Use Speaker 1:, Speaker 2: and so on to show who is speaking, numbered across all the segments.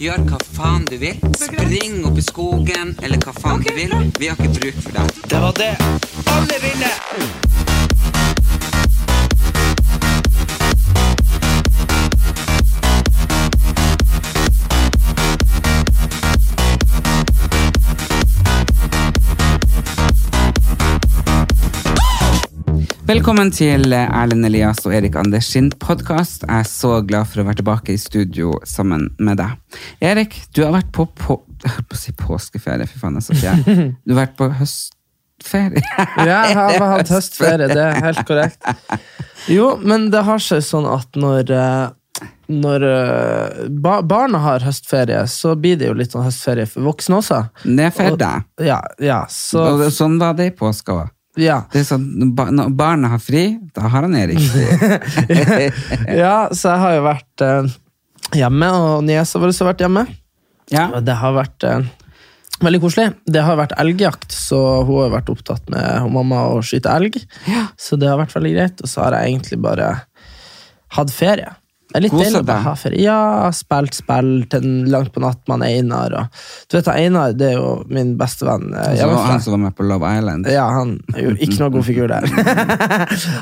Speaker 1: Gjør hva faen du vil. Spring opp i skogen, eller hva faen du vil. Vi har ikke bruk for deg. Det var det alle ville! Velkommen til eh, Erlend Elias og Erik Anders sin podkast. Jeg er så glad for å være tilbake i studio sammen med deg. Erik, du har vært på, på Jeg holdt på å si påskeferie, fy faen, altså. jeg er så fjern. Du har vært på høstferie.
Speaker 2: Ja, jeg har hatt høstferie, det er helt korrekt. Jo, men det har seg sånn at når, eh, når eh, ba barna har høstferie, så blir det jo litt sånn høstferie for voksne også.
Speaker 1: Det er for deg.
Speaker 2: Ja, ja,
Speaker 1: Og
Speaker 2: så,
Speaker 1: Sånn var det i påska òg.
Speaker 2: ja.
Speaker 1: Det er sånn, når ba- når barna har fri, da har han Erik fri.
Speaker 2: ja, så jeg har jo vært eh, hjemme, og niesa vår har vært hjemme.
Speaker 1: Ja.
Speaker 2: Og det har vært eh, veldig koselig. Det har vært elgjakt, så hun har vært opptatt med hun mamma å skyte elg. Så det har vært veldig greit, og så har jeg egentlig bare hatt ferie. Det er litt
Speaker 1: Koset
Speaker 2: deilig å bare
Speaker 1: deg.
Speaker 2: ha ferie. Ja, spilt spill til den langt på natt med Einar. Og, du vet, Einar det er jo min beste venn. eh,
Speaker 1: Så
Speaker 2: hjemmefra.
Speaker 1: Altså, han som var med på Love Island.
Speaker 2: Ja, han gjorde ikke noe god figur der.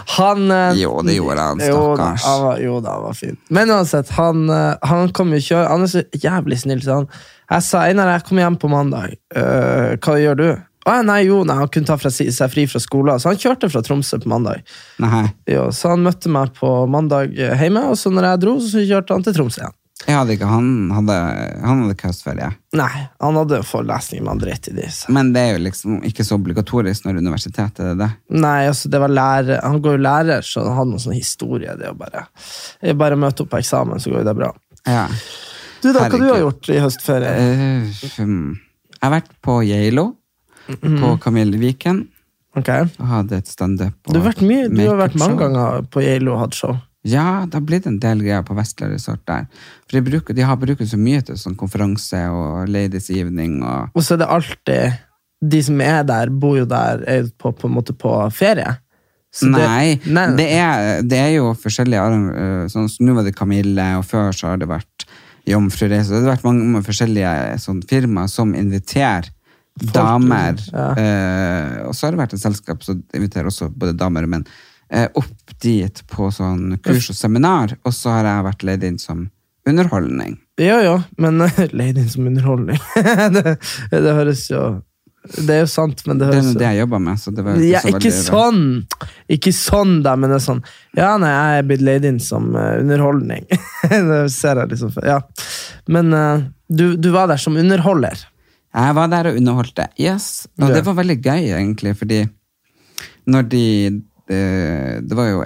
Speaker 2: han eh,
Speaker 1: Jo, det gjorde han,
Speaker 2: jo, da,
Speaker 1: stakkars.
Speaker 2: han var, jo da, han var fin. Men uansett, han, eh, han kom jo kjøre, han er så jævlig snill, så han. Jeg sa, Einar, jeg kommer hjem på mandag. Eh, hva gjør du? Å, nei, jo, nei, han kunne ta fra, si- seg fri fra skolen, så han kjørte fra Tromsø på mandag.
Speaker 1: Nei.
Speaker 2: Jo, så han møtte meg på mandag eh, hjemme, og så når jeg dro, så kjørte han til Tromsø igjen.
Speaker 1: Jeg hadde ikke, han hadde, han hadde ikke høstferie.
Speaker 2: Nei, han hadde forelesning, men han dreit i det. Så.
Speaker 1: Men det er jo liksom ikke så obligatorisk når universitetet er det.
Speaker 2: Nei, altså det var lærer. Han går jo lærer, så han hadde noen sånn historie. Det å bare, jeg bare møte opp på eksamen, så går jo det bra.
Speaker 1: Ja.
Speaker 2: Du da, hva du har
Speaker 1: Herregud.
Speaker 2: gjort i høstferie?
Speaker 1: Eh, hmm. jeg har vært på Geilo, på Camille Viken,
Speaker 2: Ok.
Speaker 1: og hadde et standup. og
Speaker 2: Du har vært mye, du har vært
Speaker 1: makeup-show.
Speaker 2: mange ganger på Geilo og hatt show.
Speaker 1: Ja, det har blitt en del greier på Vestlia Resort der. For de, bruker, de har brukt så mye til sånn konferanse og ladies evening og
Speaker 2: Og så er det alltid De som er der, bor jo der, er jo på, på en måte på ferie. Så det-
Speaker 1: Nei,
Speaker 2: nei,
Speaker 1: Det, er, det er jo forskjellige arran- øh, sånn, som Nå var det Kamille, og før så har det vært Jomfru Reise. Det har vært mange mange forskjellige sånn, firmaer som inviterer damer.
Speaker 2: ja.
Speaker 1: eh, og så har det vært et selskap som inviterer også både damer og menn eh, opp dit på sånn kurs og seminar, og så har jeg vært leid inn som underholdning.
Speaker 2: Jo, jo, men Lady som underholdning det, det høres jo Det er jo sant, men det
Speaker 1: Det er
Speaker 2: høres
Speaker 1: nå
Speaker 2: jo
Speaker 1: det jeg jobber med. så det var jo
Speaker 2: Ja,
Speaker 1: så
Speaker 2: ikke
Speaker 1: veldig rart.
Speaker 2: sånn! Ikke sånn, da, men det er sånn Ja, nei, jeg er blitt leid inn som eh, underholdning. det ser jeg liksom for- Ja. Men eh, du, du var der som underholder.
Speaker 1: Jeg var der og underholdte. Yes. Og
Speaker 2: Ja.
Speaker 1: det var veldig gøy, egentlig, fordi når de eh, Det var jo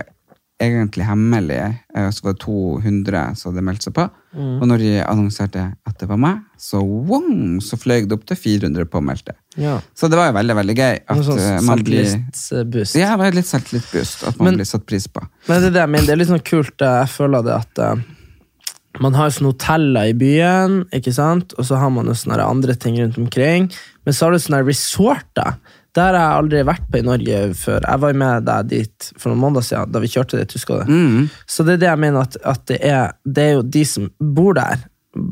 Speaker 1: egentlig hemmelig, eh, så var det 200 som hadde meldt seg på.
Speaker 2: Mm.
Speaker 1: Og når de annonserte at det var meg, så wong, så fløy det opp til 400 påmeldte.
Speaker 2: Ja.
Speaker 1: Så det var jo veldig, veldig gøy at
Speaker 2: Noe sånn
Speaker 1: eh, man blir
Speaker 2: selvtillitsboost.
Speaker 1: ja, det var litt selvtillitsboost. At man
Speaker 2: Men-
Speaker 1: blir satt pris på.
Speaker 2: Men det er det jeg mener. Det er litt sånn kult. eh, Jeg føler det at eh, man har sånne hoteller i byen, ikke sant? og så har man jo sånne her andre ting rundt omkring. Men så har du sånne her resorter. Der har jeg aldri vært på i Norge før. Jeg var jo med deg dit for noen måneder siden, da vi kjørte dit. husker du det? Så det er det jeg mener, at, at det, er, det er jo de som bor der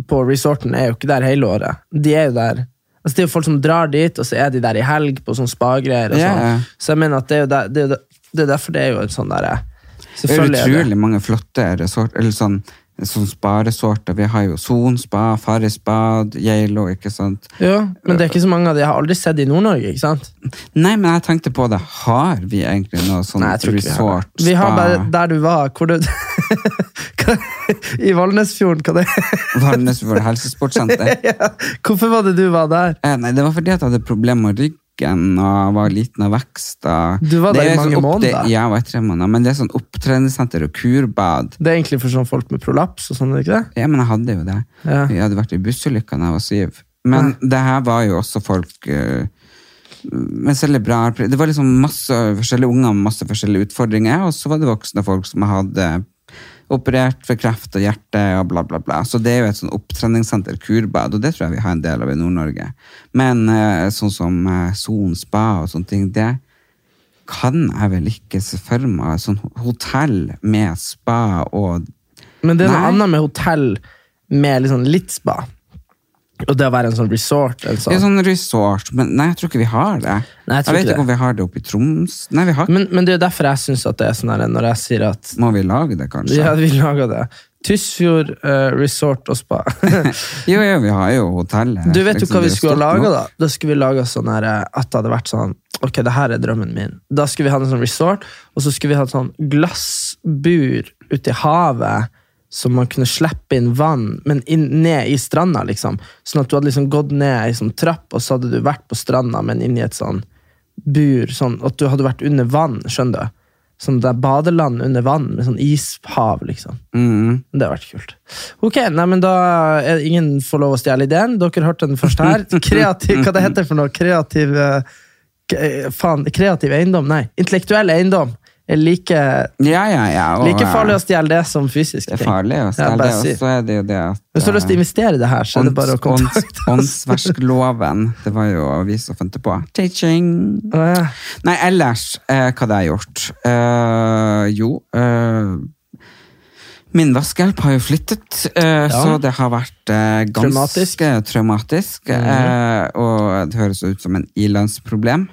Speaker 2: på resorten, er jo ikke der hele året. De er jo der. Altså, det er jo folk som drar dit, og så er de der i helg på sånn spagreier. og
Speaker 1: Ja,
Speaker 2: sånn.
Speaker 1: ja.
Speaker 2: Så jeg mener at det er jo der, det er jo der, det er derfor det er jo et sånn derre
Speaker 1: Det er
Speaker 2: Selvfølgelig er det.
Speaker 1: utrolig mange flotte resort, eller sånn, sånn spa-resorter. Vi har jo Son spa, Farris bad, Geilo, ikke sant.
Speaker 2: Ja, men det er ikke så mange av de jeg har aldri sett i Nord-Norge. ikke sant?
Speaker 1: Nei, men jeg tenkte på det. Har vi egentlig noe sånn
Speaker 2: Nei, jeg tror ikke vi har
Speaker 1: resort?
Speaker 2: det. Vi har
Speaker 1: spa,
Speaker 2: bare der du var. hvor du... Hva- I Valnesfjorden, hva det
Speaker 1: Valnesfjord helsesportsenter?
Speaker 2: Hvorfor var det du var der?
Speaker 1: Eh, Nei, det var fordi at jeg hadde problemer med ryggen. Løkken og var liten av Vekstad.
Speaker 2: Du var
Speaker 1: Det
Speaker 2: der i
Speaker 1: er sånn
Speaker 2: mange
Speaker 1: opp- det-
Speaker 2: måneder.
Speaker 1: Ja, jeg var i tre måneder. Men det er sånn opptreningssenter og kurbad.
Speaker 2: Det er egentlig for sånn folk med prolaps og sånn, er det ikke det?
Speaker 1: Ja, men jeg hadde jo det.
Speaker 2: Ja.
Speaker 1: Jeg hadde vært i bussulykka da jeg var syv. Men det her var jo også folk eh, med cerebral Det var liksom masse forskjellige unger med masse forskjellige utfordringer, og så var det voksne folk som hadde operert for kreft og hjerte og bla, bla, bla. Så det er jo et sånn opptreningssenter, kurbad, og det tror jeg vi har en del av i Nord-Norge. Men eh, sånn som eh, Son spa og sånne ting, det kan jeg vel ikke se for meg. Sånn hotell med spa og
Speaker 2: Men det er noe
Speaker 1: Nei.
Speaker 2: annet med hotell med liksom litt spa. Og det å være en sånn resort. En
Speaker 1: Det
Speaker 2: sånn.
Speaker 1: er sånn resort, men nei, jeg tror ikke vi har det.
Speaker 2: Nei, jeg
Speaker 1: jeg,
Speaker 2: tror
Speaker 1: vet
Speaker 2: ikke
Speaker 1: ikke
Speaker 2: det.
Speaker 1: om vi har det oppe i Troms. Nei, vi har ikke.
Speaker 2: Men, men det er jo derfor jeg syns at det er sånn her, når jeg sier at
Speaker 1: Må vi lage det, kanskje?
Speaker 2: ja, vi laga det. Tysfjord eh, resort og spa.
Speaker 1: Jo, jo, vi har jo hotellet.
Speaker 2: Du vet jo
Speaker 1: Liksom,
Speaker 2: hva vi
Speaker 1: det er
Speaker 2: skulle ha
Speaker 1: stort
Speaker 2: laga,
Speaker 1: nok.
Speaker 2: da? Da skulle vi laga sånn her eh, At det hadde vært sånn Ok, det her er drømmen min. Da skulle vi ha en sånn resort, og så skulle vi ha et sånn glassbur ute i havet. Som man kunne slippe inn vann, men inn, ned i stranda. liksom. Sånn at du hadde liksom gått ned ei sånn trapp, og så hadde du vært på stranda, men inni et sånn bur. sånn At du hadde vært under vann, skjønner du. Sånn det er badeland under vann, med sånn ishav, liksom.
Speaker 1: Mhm.
Speaker 2: Det har vært kult. Ok, nei, men da er ingen får lov å stjele ideen. Dere hørte den først her. Kreativ, hva det heter for noe? Kreativ eh, k- eh, Faen, kreativ eiendom? Nei, intellektuell eiendom er like,
Speaker 1: Ja, ja, ja. og,
Speaker 2: like
Speaker 1: eh,
Speaker 2: farlig å stjele det som fysisk.
Speaker 1: Det er farlig å
Speaker 2: Ja,
Speaker 1: stelle
Speaker 2: bare
Speaker 1: det,
Speaker 2: si.
Speaker 1: og så er det jo det at
Speaker 2: Hvis du har lyst til å
Speaker 1: eh,
Speaker 2: investere i det her, så er det bare å
Speaker 1: ånds-
Speaker 2: kontakte oss.
Speaker 1: ånds- Åndsverskloven. Det var jo vi som fant det på. Teaching!
Speaker 2: Å, ja.
Speaker 1: Nei, ellers, eh, hva hadde jeg gjort? Eh, jo eh, Min vaskehjelp har jo flyttet, eh, så det har vært eh, ganske
Speaker 2: Traumatisk.
Speaker 1: traumatisk. eh, og det høres ut som en ilandsproblem.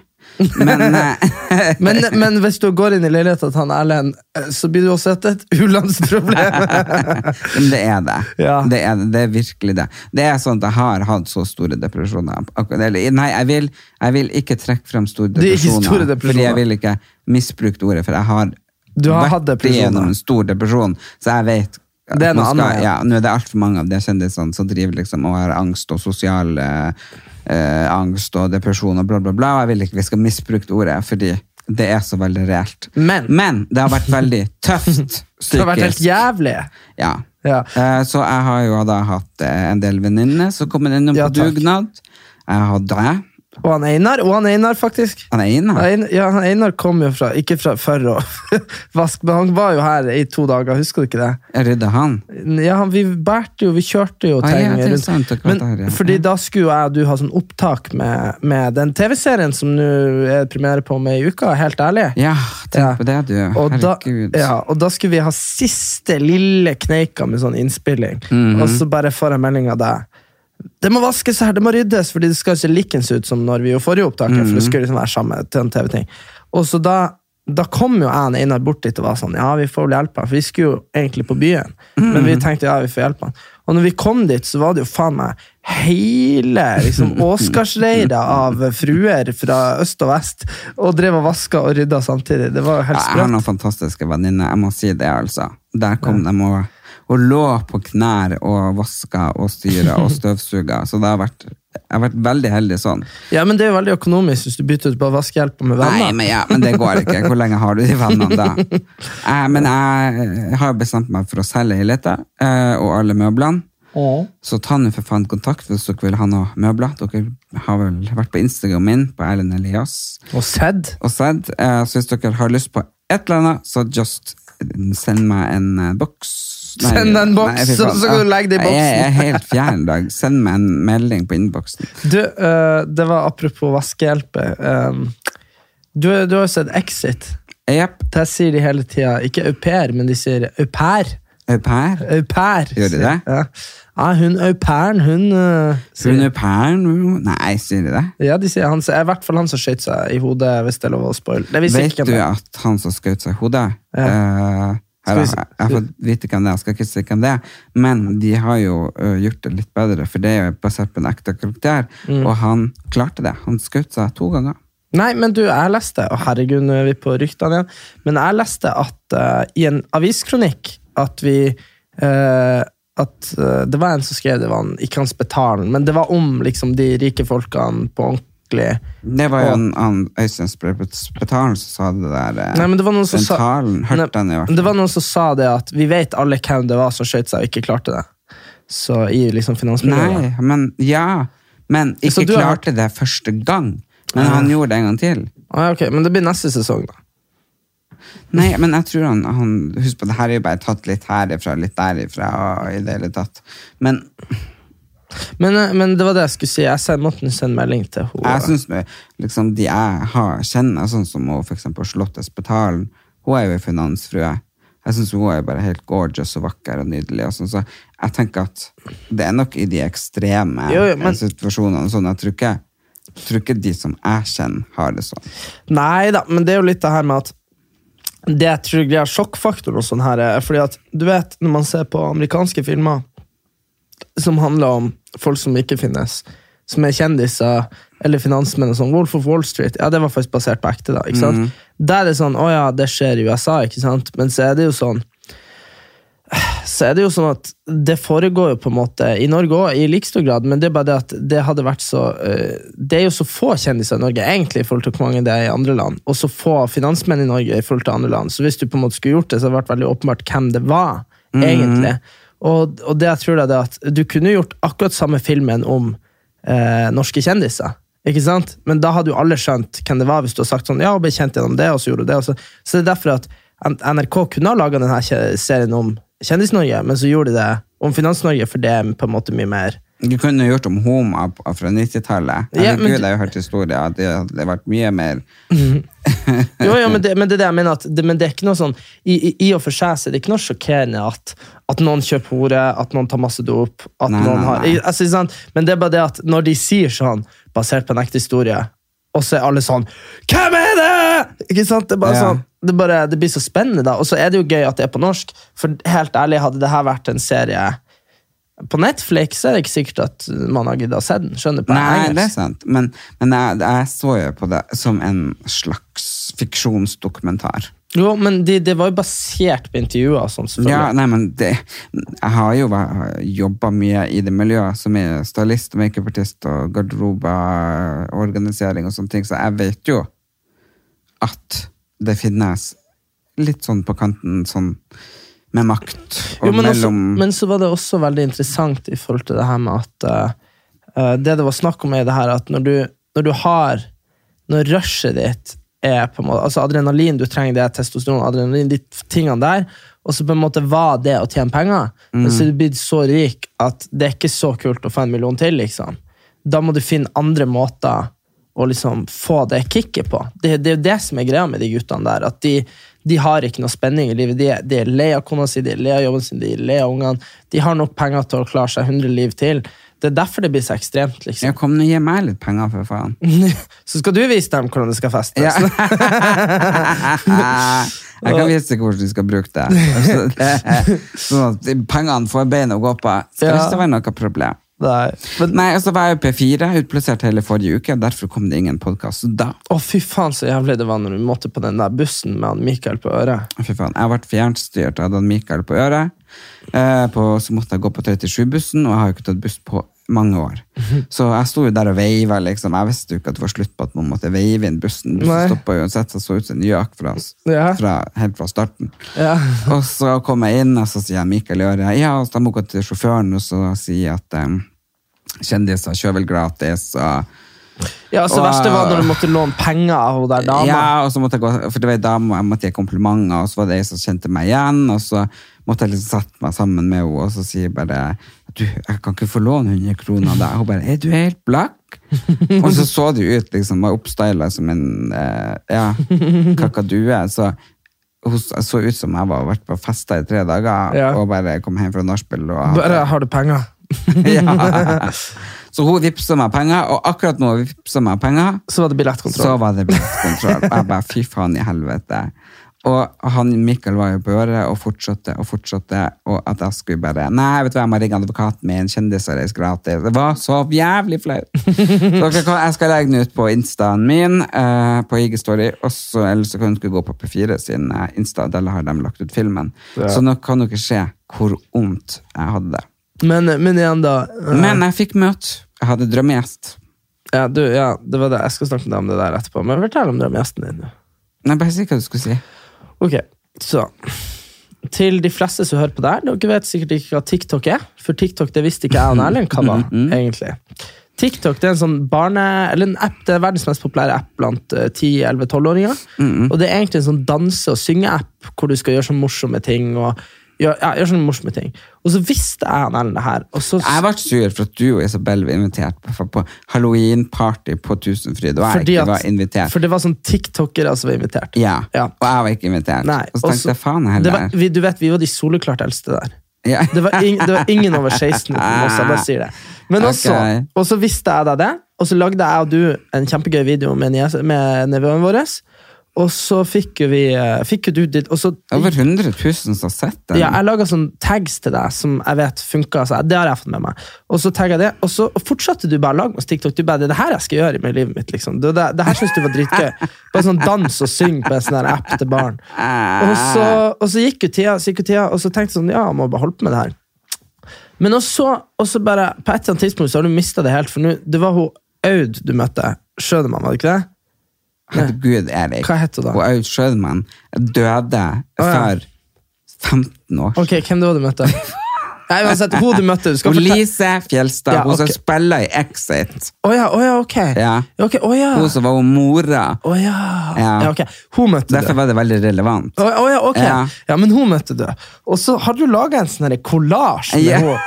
Speaker 1: Men eh,
Speaker 2: Men, men hvis du går inn i leiligheten til han Erlend, eh, så blir du også et, et u-landsproblem.
Speaker 1: Men det er det.
Speaker 2: Ja.
Speaker 1: Det, er det. det er virkelig det. Det er sånn at jeg har hatt så store depresjoner. Ak- Eller, nei, jeg vil, jeg vil ikke trekke frem store
Speaker 2: Det er ikke
Speaker 1: depresjoner.
Speaker 2: store depresjoner.
Speaker 1: Fordi jeg vil ikke misbruke det ordet, for jeg har,
Speaker 2: Du har hatt
Speaker 1: vært
Speaker 2: depresjoner.
Speaker 1: igjennom en stor depresjon, så jeg vet at
Speaker 2: Det er noe
Speaker 1: man
Speaker 2: annet,
Speaker 1: Ja,
Speaker 2: ja.
Speaker 1: nå er det altfor mange av de kjendisene som driver liksom og har angst og sosial eh, eh, angst og depresjon og bla, bla, bla. og Jeg vil ikke vi skal misbruke det ordet, fordi det er så veldig reelt.
Speaker 2: Men-
Speaker 1: det har vært veldig tøft psykisk.
Speaker 2: Det har vært helt jævlig.
Speaker 1: Ja.
Speaker 2: Ja.
Speaker 1: Eh, Så jeg har jo da hatt eh, en del venninner som kommer innom
Speaker 2: Ja,
Speaker 1: på
Speaker 2: takk.
Speaker 1: dugnad. Jeg har deg.
Speaker 2: Og han Einar, og han Einar faktisk.
Speaker 1: Han er inne her.
Speaker 2: Ein- Ja, han Einar kom jo fra, ikke fra for å vaske, men han var jo her i to dager, husker du ikke det?
Speaker 1: Jeg rydder han.
Speaker 2: Ja, han, vi bærte jo, vi kjørte jo
Speaker 1: Ah,
Speaker 2: ting
Speaker 1: ja, det er
Speaker 2: rundt.
Speaker 1: sant, akkurat
Speaker 2: men,
Speaker 1: der, ja.
Speaker 2: Fordi da skulle jo jeg og du ha sånn opptak med, med den TV-serien som nå er premiere på om ei uke, helt ærlig.
Speaker 1: Ja, tenk
Speaker 2: Ja.
Speaker 1: på det, du.
Speaker 2: Og da,
Speaker 1: Herregud.
Speaker 2: ja, og da skulle vi ha siste lille kneika med sånn innspilling,
Speaker 1: Mhm.
Speaker 2: og så bare får jeg melding av deg. Det må vaskes her, det må ryddes, fordi det skal jo se likens ut som når vi gjorde forrige opptaket. for
Speaker 1: Mhm.
Speaker 2: det skulle liksom være samme til en TV-ting. Og så da, da kom jo jeg og Einar bort dit og var sånn, ja, vi får vel hjelpe han, for vi skulle jo egentlig på byen,
Speaker 1: Mhm.
Speaker 2: men vi tenkte, ja, vi får hjelpe han. Og når vi kom dit, så var det jo faen meg hele liksom, Åsgarsreira av fruer fra øst og vest, og drev og vaska og rydda samtidig. Det var jo helt
Speaker 1: Ja, Jeg har
Speaker 2: sprøtt.
Speaker 1: noen fantastiske venninner, jeg må si det, altså. Der kom de og, og lå på knær og vaska og styra og støvsuga. Så det har vært, jeg har vært veldig heldig sånn.
Speaker 2: Ja, men det er jo veldig økonomisk hvis du bytter ut bare vaskehjelpa med
Speaker 1: Nei,
Speaker 2: venner.
Speaker 1: men, ja, men det går ikke. Hvor lenge har du de vennene da? Eh, men jeg har bestemt meg for å selge leiligheta eh, og alle møblene. Så ta nå for faen kontakt hvis dere vil ha noe møbler. Dere har vel vært på Instagram min, på Erlend Elias
Speaker 2: Og sedd.
Speaker 1: og sett. Eh, så hvis dere har lyst på et eller annet, så just send meg en eh, boks. Nei,
Speaker 2: Send deg en boks,
Speaker 1: nei, fy
Speaker 2: så-
Speaker 1: faen.
Speaker 2: så kan du legge det i
Speaker 1: Nei, Jeg
Speaker 2: boksen.
Speaker 1: er helt fjern i dag. Send meg en melding på innboksen.
Speaker 2: Du, eh, det var apropos vaskehjelpe. Um, du, du har jo sett Exit.
Speaker 1: Jepp.
Speaker 2: Der sier de hele tida ikke au pair, men de sier au pair.
Speaker 1: Au pair.
Speaker 2: Au pair.
Speaker 1: Gjør de
Speaker 2: sier-
Speaker 1: det?
Speaker 2: Ja. ja, hun au pairen, hun eh, sier-
Speaker 1: Hun er pæren. Nei, sier de det?
Speaker 2: Ja, de sier han, så er i hvert fall han som skøyt seg i hodet, hvis det er lov å spoile. Det visste
Speaker 1: Vet
Speaker 2: ikke
Speaker 1: du
Speaker 2: hvem det er.
Speaker 1: at han som skjøt seg i hodet
Speaker 2: Ja.
Speaker 1: eh, her,
Speaker 2: Skal vi
Speaker 1: Jeg
Speaker 2: se-
Speaker 1: jeg har fått vite hvem det er, jeg skal ikke si hvem det er. Men de har jo ø, gjort det litt bedre, for det er jo basert på en ekte karakter.
Speaker 2: Mm.
Speaker 1: Og han klarte det. Han skjøt seg to ganger.
Speaker 2: Nei, men du, jeg leste, og herregud, nå er vi på ryktene igjen, men jeg leste at eh, i en aviskronikk at vi eh, at eh, det var en som skrev det var han, ikke hans Betalen, men det var om liksom de rike folkene på skikkelig
Speaker 1: Det var jo en annen Øystein Spetalen som sa det der. eh,
Speaker 2: Nei, men det var noen som
Speaker 1: den
Speaker 2: sa
Speaker 1: talen, hørte
Speaker 2: Nei,
Speaker 1: han i hvert
Speaker 2: Det
Speaker 1: fall.
Speaker 2: var noen som sa det at vi vet alle hvem det var som skjøt seg og ikke klarte det. Så i liksom finansmiljøet.
Speaker 1: Nei, men ja. Men
Speaker 2: Så
Speaker 1: ikke
Speaker 2: du har
Speaker 1: klarte det første gang. Men han gjorde det en gang til.
Speaker 2: Ah, ja, ok, Men det blir neste sesong, da.
Speaker 1: Nei, men jeg tror han, han Husk på, det her er jo bare tatt litt herifra, litt derifra, og i det hele tatt. Men
Speaker 2: Men, eh, men det var det jeg skulle si. Jeg send, måtte sende melding til
Speaker 1: jeg
Speaker 2: henne.
Speaker 1: syns liksom, de jeg har, kjenner, sånn som hun, for eksempel Charlotte Spetalen, hun er jo en finansfrue. Jeg syns hun er bare helt gorgeous og vakker og nydelig. Og sånn, så jeg tenker at det er nok i de ekstreme
Speaker 2: Jo, jo, men-
Speaker 1: situasjonene. Sånn, jeg tror ikke, jeg tror ikke de som jeg kjenner, har det sånn.
Speaker 2: Nei da, men det er jo litt det her med at det jeg tror greia sjokkfaktoren og sånn her, er fordi at du vet, når man ser på amerikanske filmer som handler om folk som ikke finnes, som er kjendiser eller finansmenn og sånn, Wolf of Wall Street, ja, det var faktisk basert på ekte, da. ikke sant? Der er det sånn, å ja, det skjer i USA, ikke sant? Men så er det jo sånn så er det jo sånn at det foregår jo på en måte i Norge òg, i like stor grad, men det er bare det at det hadde vært så eh, Det er jo så få kjendiser i Norge, egentlig, i forhold til hvor mange det er i andre land, og så få finansmenn i Norge i forhold til andre land. Så hvis du på en måte skulle gjort det, så hadde det vært veldig åpenbart hvem det var, egentlig. Og, og det jeg tror da, det er at du kunne gjort akkurat samme filmen om eh, norske kjendiser. Ikke sant? Men da hadde jo alle skjønt hvem det var, hvis du hadde sagt sånn, ja, og ble kjent gjennom det, og så gjorde du det. Og så. så det er derfor at N- NRK kunne ha laga denne kje- serien om Kjendis-Norge, men så gjorde de det om Finans-Norge, for det er på en måte mye mer
Speaker 1: Du kunne jo gjort om Homa p- fra 90-tallet.
Speaker 2: Ja, men
Speaker 1: Herregud,
Speaker 2: du-
Speaker 1: jeg har jo hørt historier at det hadde vært mye mer
Speaker 2: Jo, jo, men det, men det er det jeg mener at det, men det er ikke noe sånn, i, i, I og for seg så er det ikke noe sjokkerende at, at noen kjøper hore, at noen tar masse dop at
Speaker 1: Nei,
Speaker 2: noen
Speaker 1: nei,
Speaker 2: har,
Speaker 1: nei.
Speaker 2: I- altså, ikke sant? Men det er bare det at når de sier sånn, basert på en ekte historie, og så er alle sånn Hvem er det?! Ikke sant? Det, er bare
Speaker 1: Ja.
Speaker 2: sånn, det, er bare, det blir så spennende, da. Og så er det jo gøy at det er på norsk, for helt ærlig, hadde det her vært en serie på Netflix, så er det ikke sikkert at man har giddet å se den. Skjønner du? på
Speaker 1: Nei,
Speaker 2: engelsk.
Speaker 1: det er sant. Men, men jeg, jeg så jo på det som en slags fiksjonsdokumentar.
Speaker 2: Jo, men det de var jo basert på intervjuer og sånn, selvfølgelig.
Speaker 1: Ja, nei, men det, jeg har jo væ- jobbet mye i det miljøet som er stylist, makeupartist og garderober, organisering og sånne ting, så jeg vet jo at det finnes litt sånn på kanten, sånn med makt og
Speaker 2: jo, men,
Speaker 1: mellom...
Speaker 2: også, men så var det også veldig interessant i forhold til det her med at eh, eh, Det det var snakk om, er det her at når du, når du har Når rushet ditt er på en måte Altså adrenalin, du trenger det, testosteron, adrenalin, de tingene der. Og så på en måte var det å tjene penger. Men
Speaker 1: Mm.
Speaker 2: så er du blitt så rik at det er ikke så kult å få en million til, liksom. Da må du finne andre måter å liksom få det kicket på. Det, det er jo det som er greia med de guttene der. At de, de har ikke noe spenning i livet. De, er- de er lei av kona si, de er lei av jobben sin, de er lei av ungene. De har nok penger til å klare seg 100 liv til. Det er derfor det blir så ekstremt, liksom.
Speaker 1: Ja, kom nå, gi meg litt penger for faen.
Speaker 2: Så skal du vise dem hvordan det skal festes.
Speaker 1: Ja. Eh, jeg kan vise deg hvordan du skal bruke det. Altså, det sånn at pengene får bein å gå på. Skal
Speaker 2: Ja.
Speaker 1: ikke være noe problem.
Speaker 2: Nei. Men,
Speaker 1: Nei, og så var jeg på P4, utplassert hele forrige uke, og derfor kom det ingen podkast. Så da
Speaker 2: å, fy faen, så jævlig det var når vi måtte på den der bussen med han Mikael på øret.
Speaker 1: Fy faen, jeg har vært fjernstyrt. Jeg hadde han Mikael på øret. Eh, på, så måtte jeg gå på 37-bussen, og jeg har jo ikke tatt buss på mange år.
Speaker 2: Mhm.
Speaker 1: Så jeg sto jo der og veiva, liksom. Jeg visste jo ikke at det var slutt på at man måtte veive inn bussen.
Speaker 2: Nei.
Speaker 1: Bussen stoppa uansett, så jeg så ut som en gjøk fra,
Speaker 2: Ja.
Speaker 1: fra, helt fra starten.
Speaker 2: Ja.
Speaker 1: Og så kom jeg inn, og så sier jeg Mikael i øret. Ja, og så da må jeg gå til sjåføren og så si at eh, kjendiser kjører vel gratis. og...
Speaker 2: Ja, så
Speaker 1: Wow.
Speaker 2: verste var når du måtte låne penger av hun der dama.
Speaker 1: Ja, og så måtte jeg gå, for det var en dame, og jeg måtte gi komplimenter, og så var det ei som kjente meg igjen, og så måtte jeg liksom sette meg sammen med henne, og så sier jeg bare du, jeg kan ikke få låne 100 kroner av deg. Hun bare, er du helt blakk? og så så det jo ut, liksom, var oppstylet som en eh, ja, kakadue, så hun s- så ut som jeg var vært på festa i tre dager,
Speaker 2: Ja.
Speaker 1: og bare kom hjem fra nachspiel og hadde-
Speaker 2: Bare har du penger?
Speaker 1: ja. Så hun vippsa meg penger, og akkurat nå vippsa meg penger,
Speaker 2: Så var det billettkontroll.
Speaker 1: så var det billettkontroll. Og jeg bare, fy faen i helvete. Og han, Mikael var jo på øret og fortsatte og fortsatte, og at jeg skulle bare Nei, vet du hva, jeg må ringe advokaten min, kjendiser reiser gratis. Det var så jævlig flaut. Dere kan- Jeg skal legge den ut på instaen min, eh, på IG Story, og så- eller så kan dere gå på P4 sin eh, insta, der har de lagt ut filmen. Så nå kan dere se hvor ondt jeg hadde det.
Speaker 2: Men, men igjen, da. eh,
Speaker 1: Men jeg fikk møte. Jeg hadde drømmegjest.
Speaker 2: Ja, du, ja, det var det. Jeg skal snakke med deg om det der etterpå. Men fortell om drømmegjesten din.
Speaker 1: Nei, bare si hva du skulle si.
Speaker 2: Ok, så Til de fleste som hører på der Dere vet sikkert ikke hva TikTok er For TikTok det visste ikke jeg og Erlend hva var egentlig TikTok det er en sånn barne Eller en app, det er verdens mest populære app Blant eh, 10-11-12-åringer Og det er egentlig en sånn danse- og synge-app Hvor du skal gjøre sånne morsomme ting Og gjøre ja, gjøre sånne morsomme ting Og så visste jeg og Erlend det her og så,
Speaker 1: Jeg ble sur for at du og Isabel var invitert på, på halloween-party på Tusenfryd, og jeg
Speaker 2: fordi
Speaker 1: ikke
Speaker 2: at-
Speaker 1: var invitert.
Speaker 2: For det var sånn TikTokere som var invitert
Speaker 1: Ja,
Speaker 2: Ja.
Speaker 1: og jeg var ikke invitert.
Speaker 2: Nei,
Speaker 1: og så tenkte
Speaker 2: også-
Speaker 1: jeg faen
Speaker 2: det
Speaker 1: heller.
Speaker 2: var, vi, Du vet, vi var de soleklart eldste der
Speaker 1: Ja.
Speaker 2: Det var, ing, det var ingen over 16 uten oss, jeg bare sier det. Men også,
Speaker 1: Ok.
Speaker 2: og så visste jeg da det, og så lagde jeg og du en kjempegøy video med, nies- med nevøen vår. Og så fikk jo vi eh, fikk jo du ditt, og så,
Speaker 1: Over 100 000 som har sett den.
Speaker 2: ja, Jeg laga sånn tags til deg som jeg vet funka. Så jeg- det har jeg fått med meg. Og så tagget jeg det, og så fortsatte du bare å lage masse TikTok. Du bare, det er det her jeg skal gjøre med livet mitt. liksom. Det, det, det her synes du var dritgøy. Bare sånn dans og syng på en sånn der app til barn.
Speaker 1: Ah,
Speaker 2: Og så, og så gikk jo tida, så gikk jo tida, og så tenkte jeg sånn, ja, jeg må bare holde på med det her. Men også, også bare, på et eller annet tidspunkt så har du mistet det helt, for nå, det var hun Aud du møtte, Sjødemann, var det ikke det?
Speaker 1: Herregud, Erik.
Speaker 2: Hva het hun da?
Speaker 1: Og Aud Schødmann døde
Speaker 2: ja.
Speaker 1: for 15 år.
Speaker 2: Ok, hvem det var du møtte? Nei, uansett, hun du møtte, du skal
Speaker 1: Og
Speaker 2: fortelle.
Speaker 1: Lise Fjelstad,
Speaker 2: Ja,
Speaker 1: hun som
Speaker 2: ok.
Speaker 1: spiller i Exit.
Speaker 2: Åja, åja, ok.
Speaker 1: Ja.
Speaker 2: Ok, åja.
Speaker 1: Hun som var hun mora.
Speaker 2: Åja.
Speaker 1: Ja.
Speaker 2: Ja, ok. Hun møtte du.
Speaker 1: Derfor var det veldig relevant.
Speaker 2: Å, å ja, ok. Ja.
Speaker 1: Ja.
Speaker 2: men hun møtte du. Og så har du laga en sånn kollasj med
Speaker 1: Ja.
Speaker 2: henne.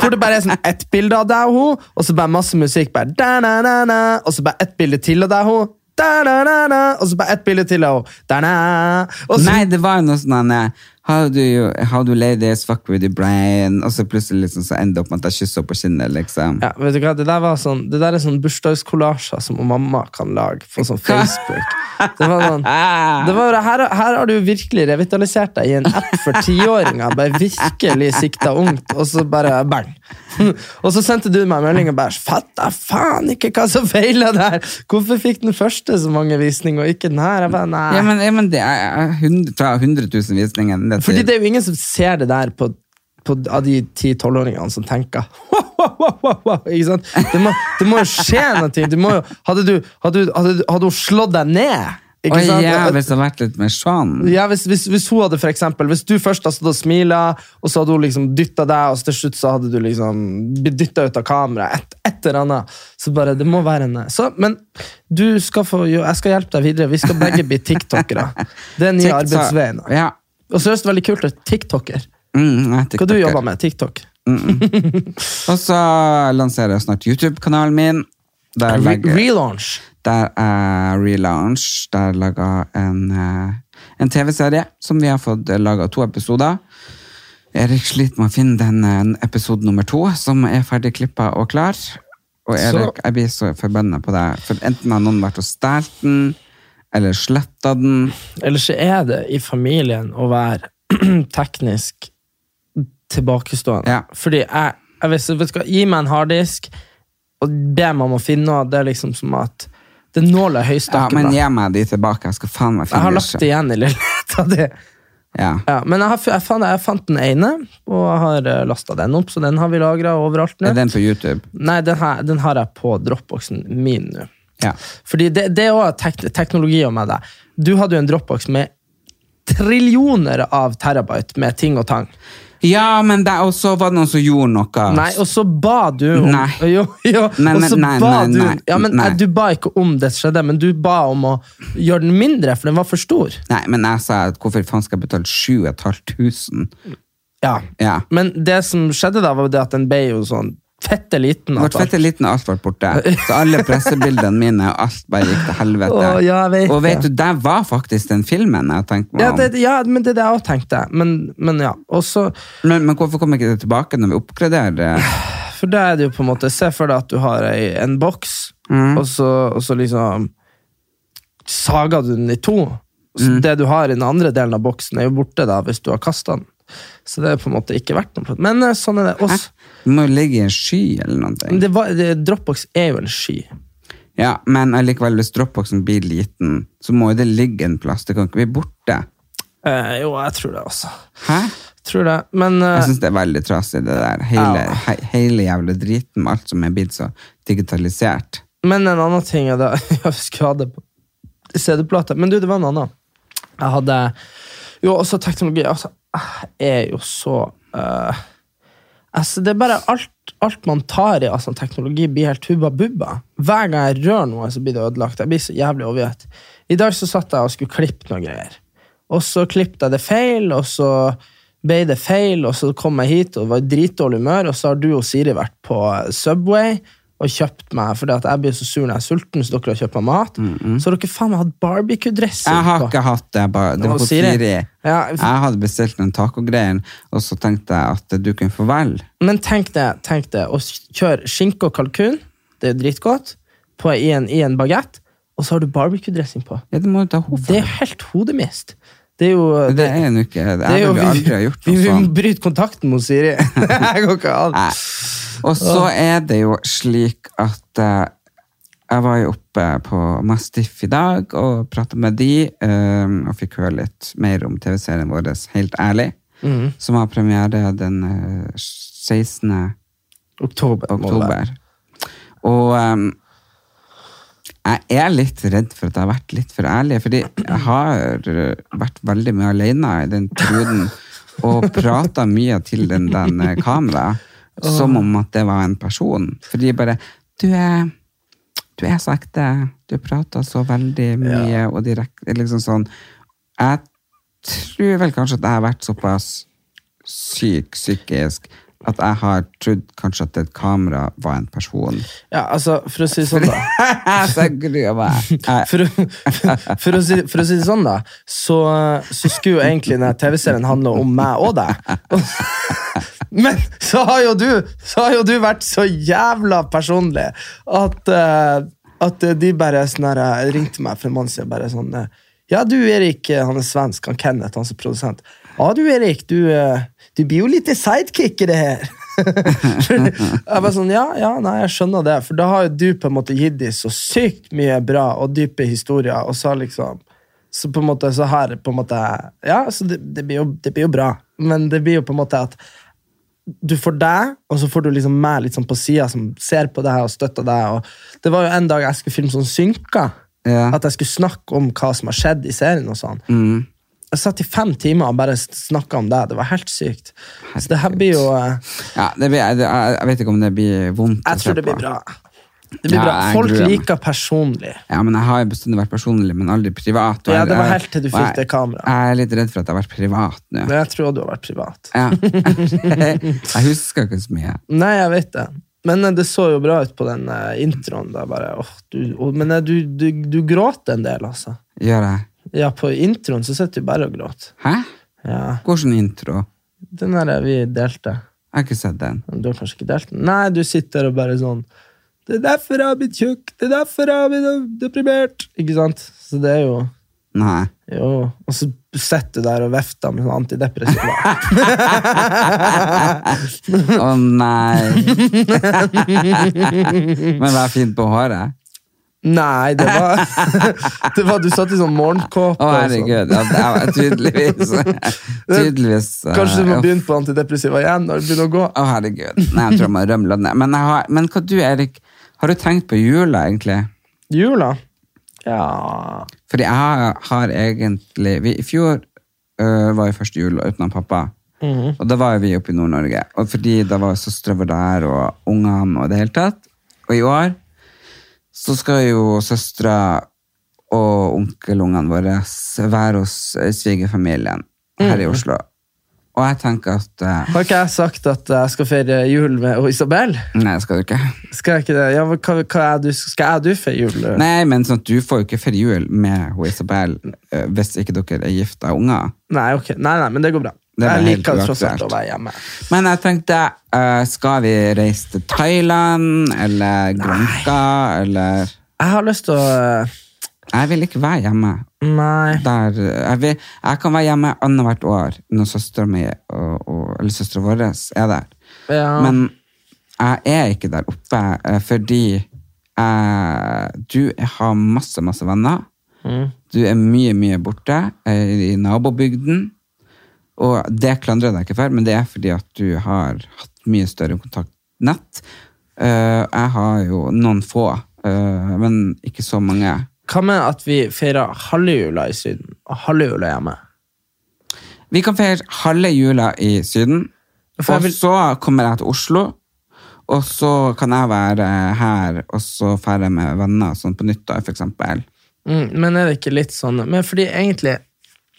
Speaker 2: Hvor det bare er sånn ett bilde av deg og hun, og så bare masse musikk. bare da, na, na, na, Og så bare ett bilde til av deg og hun. Da, na, na, na, og så bare ett bilde til av henne. Da, na. Og så,
Speaker 1: Nei, det var jo noe sånn han, eh, How do, you, how do ladies fuck with your brain? Og så plutselig liksom, så ender det opp med at jeg kysser henne på kinnet, liksom.
Speaker 2: Ja, vet du hva? Det der, var sånn, det der er sånn bursdagskollasjer som mamma kan lage på sånn Facebook. Det var sånn,
Speaker 1: Ah.
Speaker 2: det var, her, her har du virkelig revitalisert deg i en app for tiåringer. Bare virkelig sikta ungt, og så bare bang. Og så sendte du meg en melding og bare Fatta faen ikke hva som feila der! Hvorfor fikk den første så mange visninger, og ikke den her? Jeg bare, nei.
Speaker 1: Ja, men, ja, men det er er hundre- fra 100 000 visninger. ned til-
Speaker 2: Fordi det er jo ingen som ser det der på, på, av de 10-12-åringene som tenker Ikke sant? Det må, det må jo skje noe. Det må jo, hadde, du, hadde, du- hadde, du- hadde hun slått deg ned? Ikke
Speaker 1: Oi,
Speaker 2: sant?
Speaker 1: ja, hvis det hadde vært litt mer sånn.
Speaker 2: Ja, hvis, hvis, hvis hun hadde for eksempel, hvis du først hadde stått og smila, og så hadde hun liksom dytta deg, og så til slutt så hadde du liksom blitt dytta ut av kameraet, et, et eller annet. Så bare, det må være en Så, men du skal få, jo, jeg skal hjelpe deg videre. Vi skal begge bli tiktokere. Det er nye
Speaker 1: TikTok-
Speaker 2: arbeidsveien.
Speaker 1: Ja.
Speaker 2: Og så er det veldig kult å være tiktoker.
Speaker 1: Mm, jeg er
Speaker 2: Hva du
Speaker 1: tiktoker.
Speaker 2: jobber med? TikTok?
Speaker 1: Og så lanserer jeg snart YouTube-kanalen min. Der
Speaker 2: Re
Speaker 1: legger
Speaker 2: relaunch.
Speaker 1: der er relaunch. Der er laga en, eh, en TV-serie som vi har fått laga to episoder. Erik sliter med å finne den eh, episode nummer to, som er ferdig klippa og klar. Og Erik, jeg blir så forbanna på deg, for enten har noen vært og stjålet den, eller sletta den.
Speaker 2: Eller så er det i familien å være teknisk tilbakestående.
Speaker 1: Ja.
Speaker 2: Fordi jeg, jeg vet, vet du hva, Gi meg en harddisk og be meg om å finne noe. Det er liksom som at det er nåla i
Speaker 1: Ja,
Speaker 2: høystakken.
Speaker 1: men
Speaker 2: da.
Speaker 1: gi meg de tilbake. Jeg skal faen meg finne
Speaker 2: jeg har
Speaker 1: de
Speaker 2: lagt
Speaker 1: selv.
Speaker 2: det igjen i leiligheta di.
Speaker 1: Ja.
Speaker 2: Ja, men jeg, har, fu- jeg, fant, jeg fant den ene, og jeg har lasta den opp, så den har vi lagra overalt nå.
Speaker 1: Er den på YouTube?
Speaker 2: Nei, den, her, den har jeg på dropboxen min nå.
Speaker 1: Ja.
Speaker 2: Fordi det, det er òg tek teknologi og med det. Du hadde jo en dropbox med trillioner av terabyte med ting og tang.
Speaker 1: Ja, men det, og så var det noen som gjorde noe.
Speaker 2: Nei, og så ba du om
Speaker 1: Ah. Nei.
Speaker 2: Jo, jo,
Speaker 1: Nei,
Speaker 2: og
Speaker 1: nei,
Speaker 2: så
Speaker 1: nei,
Speaker 2: ba
Speaker 1: nei,
Speaker 2: du
Speaker 1: nei,
Speaker 2: Ja, men
Speaker 1: nei.
Speaker 2: eh, du ba ikke om det skjedde, men du ba om å gjøre den mindre, for den var for stor.
Speaker 1: Nei, men jeg sa at hvorfor faen skal jeg betale 7500?
Speaker 2: Ja.
Speaker 1: Ja.
Speaker 2: Men det som skjedde da, var jo det at den ble jo sånn fette liten. altså.
Speaker 1: Vårt fette liten alt ble borte. Så alle pressebildene mine og alt bare gikk til helvete.
Speaker 2: Å, ja, jeg vet
Speaker 1: og vet
Speaker 2: det.
Speaker 1: du, der var faktisk den filmen jeg tenkte meg
Speaker 2: ja,
Speaker 1: om.
Speaker 2: det, ja, men det er det jeg òg tenkte. Men, men ja. Og så
Speaker 1: men, men hvorfor kommer ikke det tilbake når vi oppgraderer?
Speaker 2: For da er det jo på en måte Se for deg at du har ei, en boks,
Speaker 1: Mm.
Speaker 2: og, så, og så liksom sager du den i to. Så
Speaker 1: Mm.
Speaker 2: Det du har i den andre delen av boksen, er jo borte da hvis du har kasta den. Så det er på en måte ikke verdt noe. Men eh, sånn er det.
Speaker 1: Hæ?
Speaker 2: Også,
Speaker 1: Det må jo ligge i en sky eller
Speaker 2: men
Speaker 1: noe.
Speaker 2: det var, det, Dropbox er jo en sky.
Speaker 1: Ja, men allikevel, hvis dropboxen blir liten, så må jo det ligge en plass. Det kan ikke bli borte.
Speaker 2: Eh, jo, jeg tror det, altså.
Speaker 1: Hæ?
Speaker 2: Tror det. Men eh,
Speaker 1: Jeg syns det er veldig trasig, det der. Hele, he, hele jævla driten med alt som er blitt så digitalisert.
Speaker 2: Men en annen ting jeg, da, jeg skulle ha det på CD-plate. Men du, det var en annen. Jeg hadde Jo, også teknologi. Altså, jeg er jo så eh, altså, Det er bare alt, alt man tar i av sånn teknologi, blir helt hubba bubba. Hver gang jeg rører noe, så blir det ødelagt. Jeg blir så jævlig overgitt. I dag så satt jeg og skulle klippe noen greier. Og så klippet jeg det feil, og så ble det feil, og så kom jeg hit og var i dritdårlig humør, og så har du og Siri vært på eh, Subway og kjøpt meg, fordi at jeg blir så sur når jeg er sulten, så dere har kjøpt meg mat. Så har dere faen meg hatt barbecue-dressing
Speaker 1: Mm, Jeg har
Speaker 2: på.
Speaker 1: ikke hatt det. Bare, det
Speaker 2: Nå
Speaker 1: var på
Speaker 2: sier jeg-
Speaker 1: Siri.
Speaker 2: Ja, for-
Speaker 1: Jeg hadde bestilt den tacogreien, og så tenkte jeg at du kunne få velge.
Speaker 2: Men tenk det, tenk det. Å kjøre skinke og kalkun, det er jo dritgodt, på, i en, i en bagett, og så har du barbecue-dressing på.
Speaker 1: Ja, det må du ta henne
Speaker 2: Det
Speaker 1: for.
Speaker 2: er jo helt hodemist. Det er jo
Speaker 1: Det er jo ikke Jeg
Speaker 2: det er jo-
Speaker 1: ville aldri ha gjort altså.
Speaker 2: vi,
Speaker 1: noe
Speaker 2: vi
Speaker 1: sånt.
Speaker 2: bryter kontakten mot Siri. det går ikke an.
Speaker 1: Nei. Og så er det jo slik at eh, jeg var jo oppe på Mastiff i dag og prata med de, eh, og fikk høre litt mer om TV-serien vår Helt ærlig,
Speaker 2: Mhm.
Speaker 1: som har premiere den eh, 16.
Speaker 2: Oktober. må det være.
Speaker 1: oktober. Og um, jeg er litt redd for at jeg har vært litt for ærlig, fordi jeg har uh, vært veldig mye alene i den truden og prata mye til den, den uh, kameraet som om at det var en person. Fordi bare Du er du er så ekte. Du prater så veldig mye og direkte. Liksom sånn. Jeg tror vel kanskje at jeg har vært såpass syk psykisk at jeg har trodd kanskje at et kamera var en person.
Speaker 2: Ja, altså, for å si det sånn, da.
Speaker 1: så jeg gruer meg. Jeg-
Speaker 2: For, å- for, å si, for å si det sånn, da, så, så skulle jo egentlig denne TV-serien handle om meg og deg. Men så har jo du, så har jo du vært så jævla personlig at, eh, at de bare sånn her, eh, ringte meg for en måned siden bare sånn eh, Ja, du Erik, eh, han er svensk, han Kenneth, han som er produsent. Ja, du Erik, du, eh, du blir jo litt sidekick i det her. jeg bare sånn, ja, ja, nei, jeg skjønner det, for da har jo du på en måte gitt dem så sykt mye bra og dype historier, og så liksom så på en måte så her på en måte, Ja, så det, det, blir jo, det blir jo bra, men det blir jo på en måte at du får deg, og så får du liksom meg litt sånn på sida som ser på deg og støtter deg. Og det var jo en dag jeg skulle filme sånn synka.
Speaker 1: Ja. Mm.
Speaker 2: At jeg skulle snakke om hva som har skjedd i serien. og sånn. Jeg satt i fem timer og bare snakka om deg. Det var helt sykt. Så det her blir jo eh,
Speaker 1: Ja, det blir, jeg, jeg vet ikke om det blir vondt. å
Speaker 2: Jeg
Speaker 1: se
Speaker 2: tror det blir
Speaker 1: på.
Speaker 2: bra. Det blir
Speaker 1: Ja,
Speaker 2: bra.
Speaker 1: jeg
Speaker 2: Folk
Speaker 1: gruer meg.
Speaker 2: liker personlig.
Speaker 1: Ja, men Jeg har jo bestandig vært personlig, men aldri privat. og
Speaker 2: Ja,
Speaker 1: jeg-
Speaker 2: det var
Speaker 1: jeg-
Speaker 2: helt til du
Speaker 1: og
Speaker 2: fikk
Speaker 1: jeg-
Speaker 2: det kameraet.
Speaker 1: Jeg er litt redd for at jeg har vært privat nå.
Speaker 2: Men jeg tror du har vært privat.
Speaker 1: Ja. jeg husker ikke så mye.
Speaker 2: Nei, jeg vet det. Men eh, det så jo bra ut på den eh, introen. Da, bare, åh, du, åh, men eh, du, du, du gråt en del, altså.
Speaker 1: Gjør jeg?
Speaker 2: Ja, på introen så sitter du bare og gråter.
Speaker 1: Hæ?
Speaker 2: Ja,
Speaker 1: Hvordan intro?
Speaker 2: den der vi delte.
Speaker 1: Jeg har ikke sett den.
Speaker 2: Du har kanskje ikke delt den? Nei, du sitter og bare sånn Det er derfor jeg har blitt tjukk, det er derfor jeg har blitt deprimert. Ikke sant? Så det er jo
Speaker 1: Nei.
Speaker 2: Jo. Og så sitter du der og vefter med sånn antidepressiva.
Speaker 1: Å nei. Men vær fin på håret.
Speaker 2: Nei, det var, det var Du satt i sånn
Speaker 1: Å
Speaker 2: morgenkåpe. og sånn.
Speaker 1: herregud. Ja, det var tydeligvis Tydeligvis. eh,
Speaker 2: Kanskje du må
Speaker 1: ja.
Speaker 2: begynne på antidepressiva igjen når det begynner å gå.
Speaker 1: Å herregud. Nei, jeg tror jeg må rømle ned. Men, jeg har, men hva du, Erik, har du tenkt på jula, egentlig?
Speaker 2: Jula? Ja
Speaker 1: Fordi jeg har, har egentlig vi, I fjor øh, var jo første jul uten pappa.
Speaker 2: Mhm.
Speaker 1: Og da var jo vi oppe i Nord-Norge. Og fordi da var søstera vår der, og ungene og det hele tatt. Og i år så skal jo søstera og onkelungene våre være hos eh, svigerfamilien her i Oslo. Og jeg tenker at eh,
Speaker 2: Har ikke jeg sagt at jeg skal feire jul med og Isabel?
Speaker 1: Nei, skal du ikke?
Speaker 2: Skal jeg ikke det? Ja, men hva, hva er du, skal jeg og du feire jul? Nei.
Speaker 1: Nei, men sånn at du får jo ikke feire jul med hun Isabel eh, hvis ikke dere er gift av unger.
Speaker 2: Nei, ok. nei, nei, men det går bra.
Speaker 1: Det er
Speaker 2: jeg
Speaker 1: helt
Speaker 2: liker tross alt å
Speaker 1: uaktuelt.
Speaker 2: være hjemme.
Speaker 1: Men jeg tenkte, eh, skal vi reise til Thailand, eller Granca, eller
Speaker 2: Jeg har lyst til å eh,
Speaker 1: Jeg vil ikke være hjemme.
Speaker 2: Nei.
Speaker 1: Der, eh, jeg, vil, jeg kan være hjemme annethvert år når søstera mi og, og, eller søstera vår er der.
Speaker 2: Ja.
Speaker 1: Men jeg er ikke der oppe eh, fordi eh, du har masse, masse venner. Du er mye, mye borte eh, i nabobygden. Og det klandrer jeg deg ikke for, men det er fordi at du har hatt mye større kontaktnett. Eh, jeg har jo noen få Eh, men ikke så mange.
Speaker 2: Hva med at vi feirer halve jula i Syden og halve jula hjemme?
Speaker 1: Vi kan feire halve jula i Syden,
Speaker 2: For jeg
Speaker 1: og
Speaker 2: vil-
Speaker 1: så kommer jeg til Oslo. Og så kan jeg være her, og så drar jeg med venner sånn på nyttår, for eksempel.
Speaker 2: Mm, men er det ikke litt sånn Men fordi egentlig,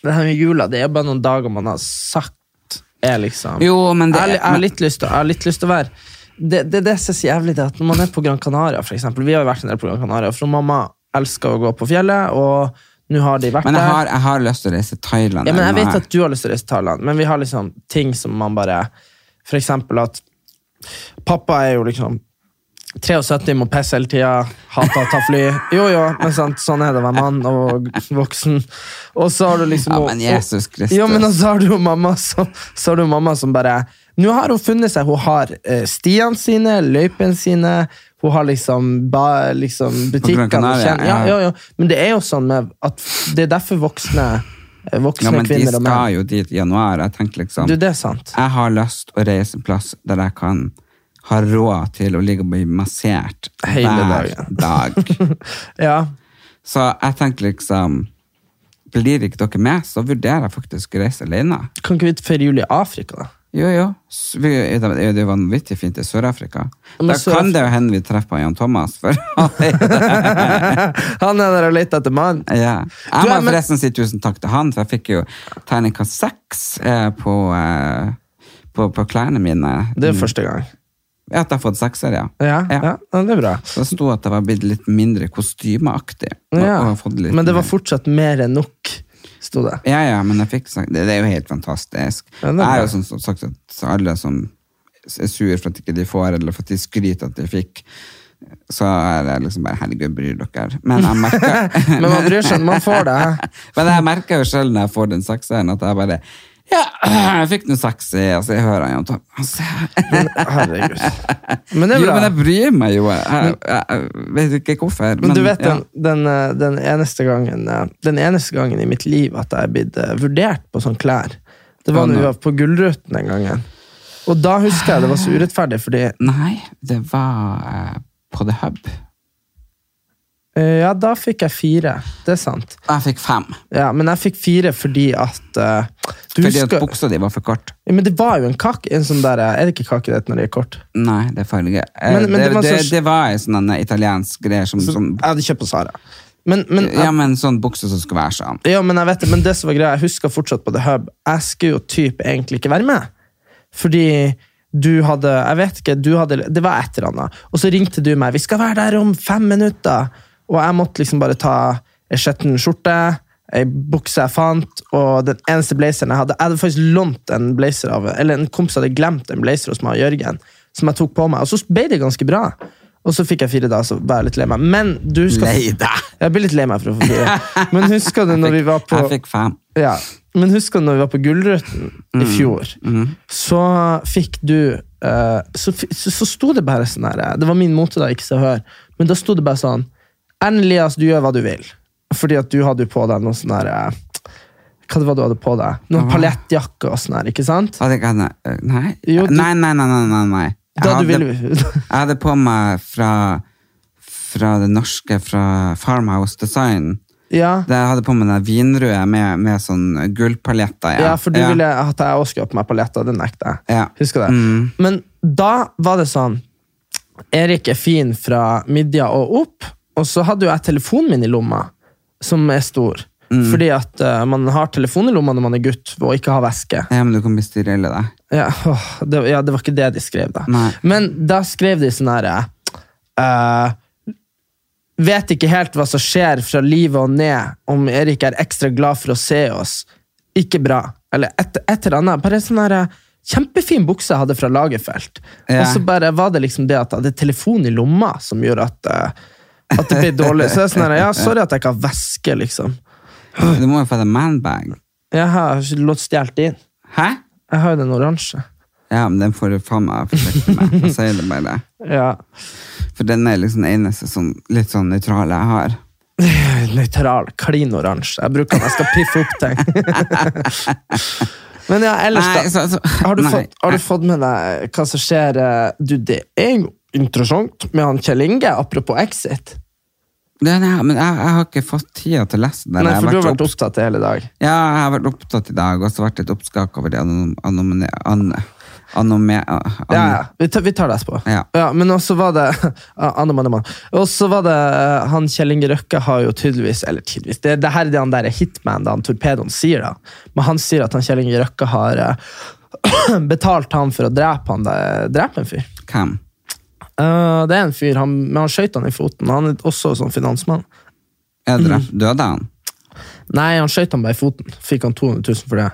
Speaker 2: det her med jula, det er bare noen dager man har sagt er liksom
Speaker 1: Jo, men det-
Speaker 2: jeg, har li- jeg har litt lyst til, jeg har litt lyst til å være det, det, det som er så jævlig, det er at når man er på Gran Canaria, for eksempel Vi har jo vært en del på Gran Canaria, for mamma elsker å gå på fjellet, og nå har de vært
Speaker 1: Men jeg
Speaker 2: der.
Speaker 1: har, jeg har lyst til å reise til Thailand.
Speaker 2: Ja, men jeg
Speaker 1: eller noe
Speaker 2: vet
Speaker 1: her.
Speaker 2: at du har lyst til å reise til Thailand, men vi har liksom ting som man bare For eksempel at pappa er jo liksom 73, må pisse hele tida, hater å ta fly. Jo, jo, men sant, sånn er det å være mann og voksen. Og så har du liksom
Speaker 1: Ja, men Jesus Kristus.
Speaker 2: Ja, men og så har du jo mamma som, så har du jo mamma som bare Nå har hun funnet seg. Hun har eh, stiene sine, løypene sine, hun har liksom, ba, liksom butikkene
Speaker 1: Gran Canaria,
Speaker 2: hun kjenner- ja,
Speaker 1: ja.
Speaker 2: ja, ja. Men det er jo sånn med at det er derfor voksne, eh, voksne
Speaker 1: ja, men de
Speaker 2: kvinner og
Speaker 1: skal
Speaker 2: menn
Speaker 1: jo dit i januar. Jeg tenker liksom
Speaker 2: Du, det er sant.
Speaker 1: Jeg har lyst å reise en plass der jeg kan ha råd til å ligge og bli massert
Speaker 2: Hele
Speaker 1: hver dag.
Speaker 2: Ja.
Speaker 1: Så jeg tenker liksom Blir ikke dere med, så vurderer jeg faktisk å reise alene.
Speaker 2: Kan ikke vi feire jul i Afrika, da?
Speaker 1: Jo, jo. S- vi- Det er jo vanvittig fint i Sør-Afrika.
Speaker 2: Men
Speaker 1: Da
Speaker 2: Sør-Af-
Speaker 1: kan det jo hende vi treffer på Jan Thomas. For
Speaker 2: Han er der og leter etter mann.
Speaker 1: ja. Jeg
Speaker 2: Du,
Speaker 1: må
Speaker 2: men-
Speaker 1: forresten si tusen takk til han, for jeg fikk jo terningkast seks eh, på, eh, på, på klærne mine.
Speaker 2: Det er første gang.
Speaker 1: At jeg har fått sekser, ja.
Speaker 2: Ja, ja. ja det er bra.
Speaker 1: Så det sto at jeg var blitt litt mindre kostymeaktig. og- og
Speaker 2: Ja.
Speaker 1: har fått litt
Speaker 2: Men det var
Speaker 1: mer-
Speaker 2: fortsatt mer enn nok, sto det.
Speaker 1: Ja, ja, men jeg fikk sagt det. Det er jo helt fantastisk.
Speaker 2: Ja, det er
Speaker 1: jeg er
Speaker 2: bra.
Speaker 1: jo sånn som sagt at alle som er sur for at ikke de får, eller for at de skryter at de fikk, så er det liksom bare herregud, bryr dere. Men jeg merker
Speaker 2: Men man bryr seg, man får det.
Speaker 1: Men jeg merker jo selv når jeg får den sekseren, at jeg bare ja, jeg fikk den seks i, altså jeg hører han jo altså,
Speaker 2: Men, herregud. Men det
Speaker 1: Jo,
Speaker 2: er bra.
Speaker 1: men jeg bryr meg jo. Jeg, jeg, jeg vet ikke hvorfor.
Speaker 2: Men, du vet
Speaker 1: ja.
Speaker 2: den, den, eh, den, eneste gangen, eh, den eneste gangen i mitt liv at jeg er blitt eh, vurdert på sånne klær, det
Speaker 1: Ja,
Speaker 2: var når vi
Speaker 1: nå.
Speaker 2: var på Gullruten den gangen. Og da husker jeg det var så urettferdig, fordi
Speaker 1: Nei, det var eh, på The Hub.
Speaker 2: eh, ja, da fikk jeg fire. Det er sant.
Speaker 1: Jeg fikk fem.
Speaker 2: Ja, men jeg fikk fire fordi at eh, Du
Speaker 1: Fordi at
Speaker 2: husker
Speaker 1: buksa di var for kort.
Speaker 2: Ja, Men det var jo en kake. En sånn der, eh, er det ikke kake det heter når det er kort?
Speaker 1: Nei, det er farlig. Eh,
Speaker 2: Men- men
Speaker 1: det,
Speaker 2: det var
Speaker 1: det,
Speaker 2: så-
Speaker 1: det var en sånn en italiensk greie som, som
Speaker 2: Jeg hadde kjøpt på Sara. Men, men,
Speaker 1: Sånn- Ja, men sånn bukse som skal være sånn.
Speaker 2: Ja, men jeg vet det, men det som var greia, jeg husker fortsatt på The Hub. Jeg skulle jo typ egentlig ikke være med. Fordi du hadde Jeg vet ikke, du hadde Det var et eller annet. Og så ringte du meg. 'Vi skal være der om fem minutter.' Og jeg måtte liksom bare ta ei skjetten skjorte, ei bukse jeg fant, og den eneste blazeren jeg hadde Jeg hadde faktisk lånt en blazer av Eller en kompis hadde glemt en blazer hos meg og Jørgen, som jeg tok på meg. Og så ble det ganske bra. Og så fikk jeg fire da, så var jeg litt lei meg. Men du skal
Speaker 1: Lei deg.
Speaker 2: Jeg blir litt lei meg for å få fire. Men husker du når vi var på
Speaker 1: Jeg fikk fem.
Speaker 2: ja, men husker du når vi var på Gullruten i
Speaker 1: Mm,
Speaker 2: fjor, så fikk du eh, så, fi- så, så sto det bare sånn her eh, Det var min mote, da, ikke se og hør, men da sto det bare sånn Erlend Elias, du gjør hva du vil. Fordi at du hadde jo på deg noe sånn her eh, Hva det var du hadde på deg? Noen paljettjakke og sånn her, ikke sant?
Speaker 1: Hadde ikke han Nei?
Speaker 2: Jo, du-
Speaker 1: nei, nei, nei, nei, nei, nei. Jeg,
Speaker 2: Da du
Speaker 1: hadde,
Speaker 2: ville-
Speaker 1: jeg hadde på meg fra, fra det norske, fra Farmhouse Design.
Speaker 2: Ja,
Speaker 1: Det jeg hadde på meg den vinrøde med, med sånn gullpaljetter.
Speaker 2: ja for du ville at jeg også skulle ha på meg paljetter, det nekter jeg.
Speaker 1: Ja.
Speaker 2: Husker det.
Speaker 1: Mm.
Speaker 2: Men da var det sånn Erik er fin fra midja og opp, og så hadde jo jeg telefonen min i lomma, som er stor. Fordi at eh, man har telefon i lomma når man er gutt og ikke har veske.
Speaker 1: Ja, men du kan bli styrelle deg.
Speaker 2: Ja, åh, det, ja, det var ikke det de skrev, da.
Speaker 1: Nei.
Speaker 2: Men da skrev de sånn herre eh, Vet ikke helt hva som skjer fra livet og ned om Erik er ekstra glad for å se oss. Ikke bra. Eller et, et eller annet. Bare sånn herre Kjempefin bukse jeg hadde fra Lagerfeld.
Speaker 1: Ja.
Speaker 2: Og så bare var det liksom det at jeg hadde telefon i lomma som gjorde at, eh, at det ble dårlig. Så det er sånn herre Ja, sorry at jeg ikke har veske, liksom.
Speaker 1: Du må jo få deg manbag.
Speaker 2: Jeg har ikke lått stjålet din.
Speaker 1: Hæ?
Speaker 2: Jeg har jo den oransje.
Speaker 1: Ja, men den får du faen meg forsøke med. Jeg sier det bare.
Speaker 2: Ja.
Speaker 1: For den er liksom den eneste sånn, litt sånn nøytrale jeg har.
Speaker 2: Nøytral, klin oransje. Jeg bruker den, jeg skal piffe opp ting. Men ja, ellers
Speaker 1: Nei,
Speaker 2: da.
Speaker 1: så- så-
Speaker 2: har, du
Speaker 1: nei.
Speaker 2: fått, har du fått med deg hva som skjer? eh, Du, det er jo interessant med han Kjell Inge, apropos Exit.
Speaker 1: Det, nei, men jeg, jeg har ikke fått tida til å lese den. der.
Speaker 2: Nei,
Speaker 1: Jeg
Speaker 2: for
Speaker 1: så
Speaker 2: du har vært opptatt i hele dag.
Speaker 1: Ja, jeg har vært opptatt i dag, og så vært litt oppskak over det anom- anomene... An, anome... An,
Speaker 2: Ja, ja. Vi tar, vi tar det etterpå.
Speaker 1: Ja.
Speaker 2: men også var det Anne, Anne, Anne. Og så var det eh, han Kjell Inge Røkke har jo tydeligvis Eller tydeligvis, det, det her er det han der er hitman, det han torpedoen sier, da. Men han sier at han Kjell Inge Røkke har eh, betalt han for å drepe han der- drepe en fyr.
Speaker 1: Hvem?
Speaker 2: Eh, det er en fyr, han, men han skøyt han i foten. Han er også sånn finansmann.
Speaker 1: Er det
Speaker 2: Mm.
Speaker 1: det? Døde han?
Speaker 2: Nei, han skøyt han bare i foten. Fikk han 200 000 for det.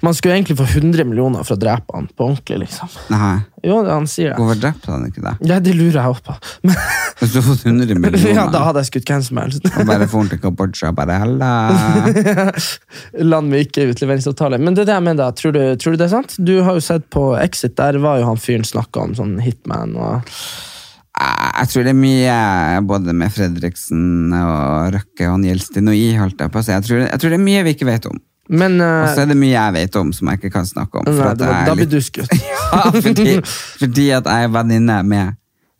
Speaker 2: Man skulle egentlig få 100 millioner for å drepe han på ordentlig, liksom.
Speaker 1: Nei.
Speaker 2: Jo, det han sier det.
Speaker 1: Hvorfor drepte han ikke det?
Speaker 2: Ja, det lurer jeg også på. Men,
Speaker 1: Hvis du har fått 100 millioner,
Speaker 2: ja, da hadde jeg skutt hvem som helst.
Speaker 1: og bare får han til Kambodsja og bare Hella!
Speaker 2: Land med ikke utleveringsavtale. Men det er det jeg mener, da. Tror du, tror du det er sant? Du har jo sett på Exit, der var jo han fyren snakka om sånn hitman og
Speaker 1: Ah, Jeg jeg tror det er mye både med Fredriksen og Røkke og han Gjelsten og I, holdt jeg på å si. Jeg tror, jeg tror det er mye vi ikke vet om.
Speaker 2: Men eh,
Speaker 1: Og så er det mye jeg vet om som jeg ikke kan snakke om. for
Speaker 2: nei,
Speaker 1: at
Speaker 2: det
Speaker 1: jeg
Speaker 2: var,
Speaker 1: er
Speaker 2: da
Speaker 1: litt-
Speaker 2: blir du skutt.
Speaker 1: Ja, fordi, fordi at jeg er venninne med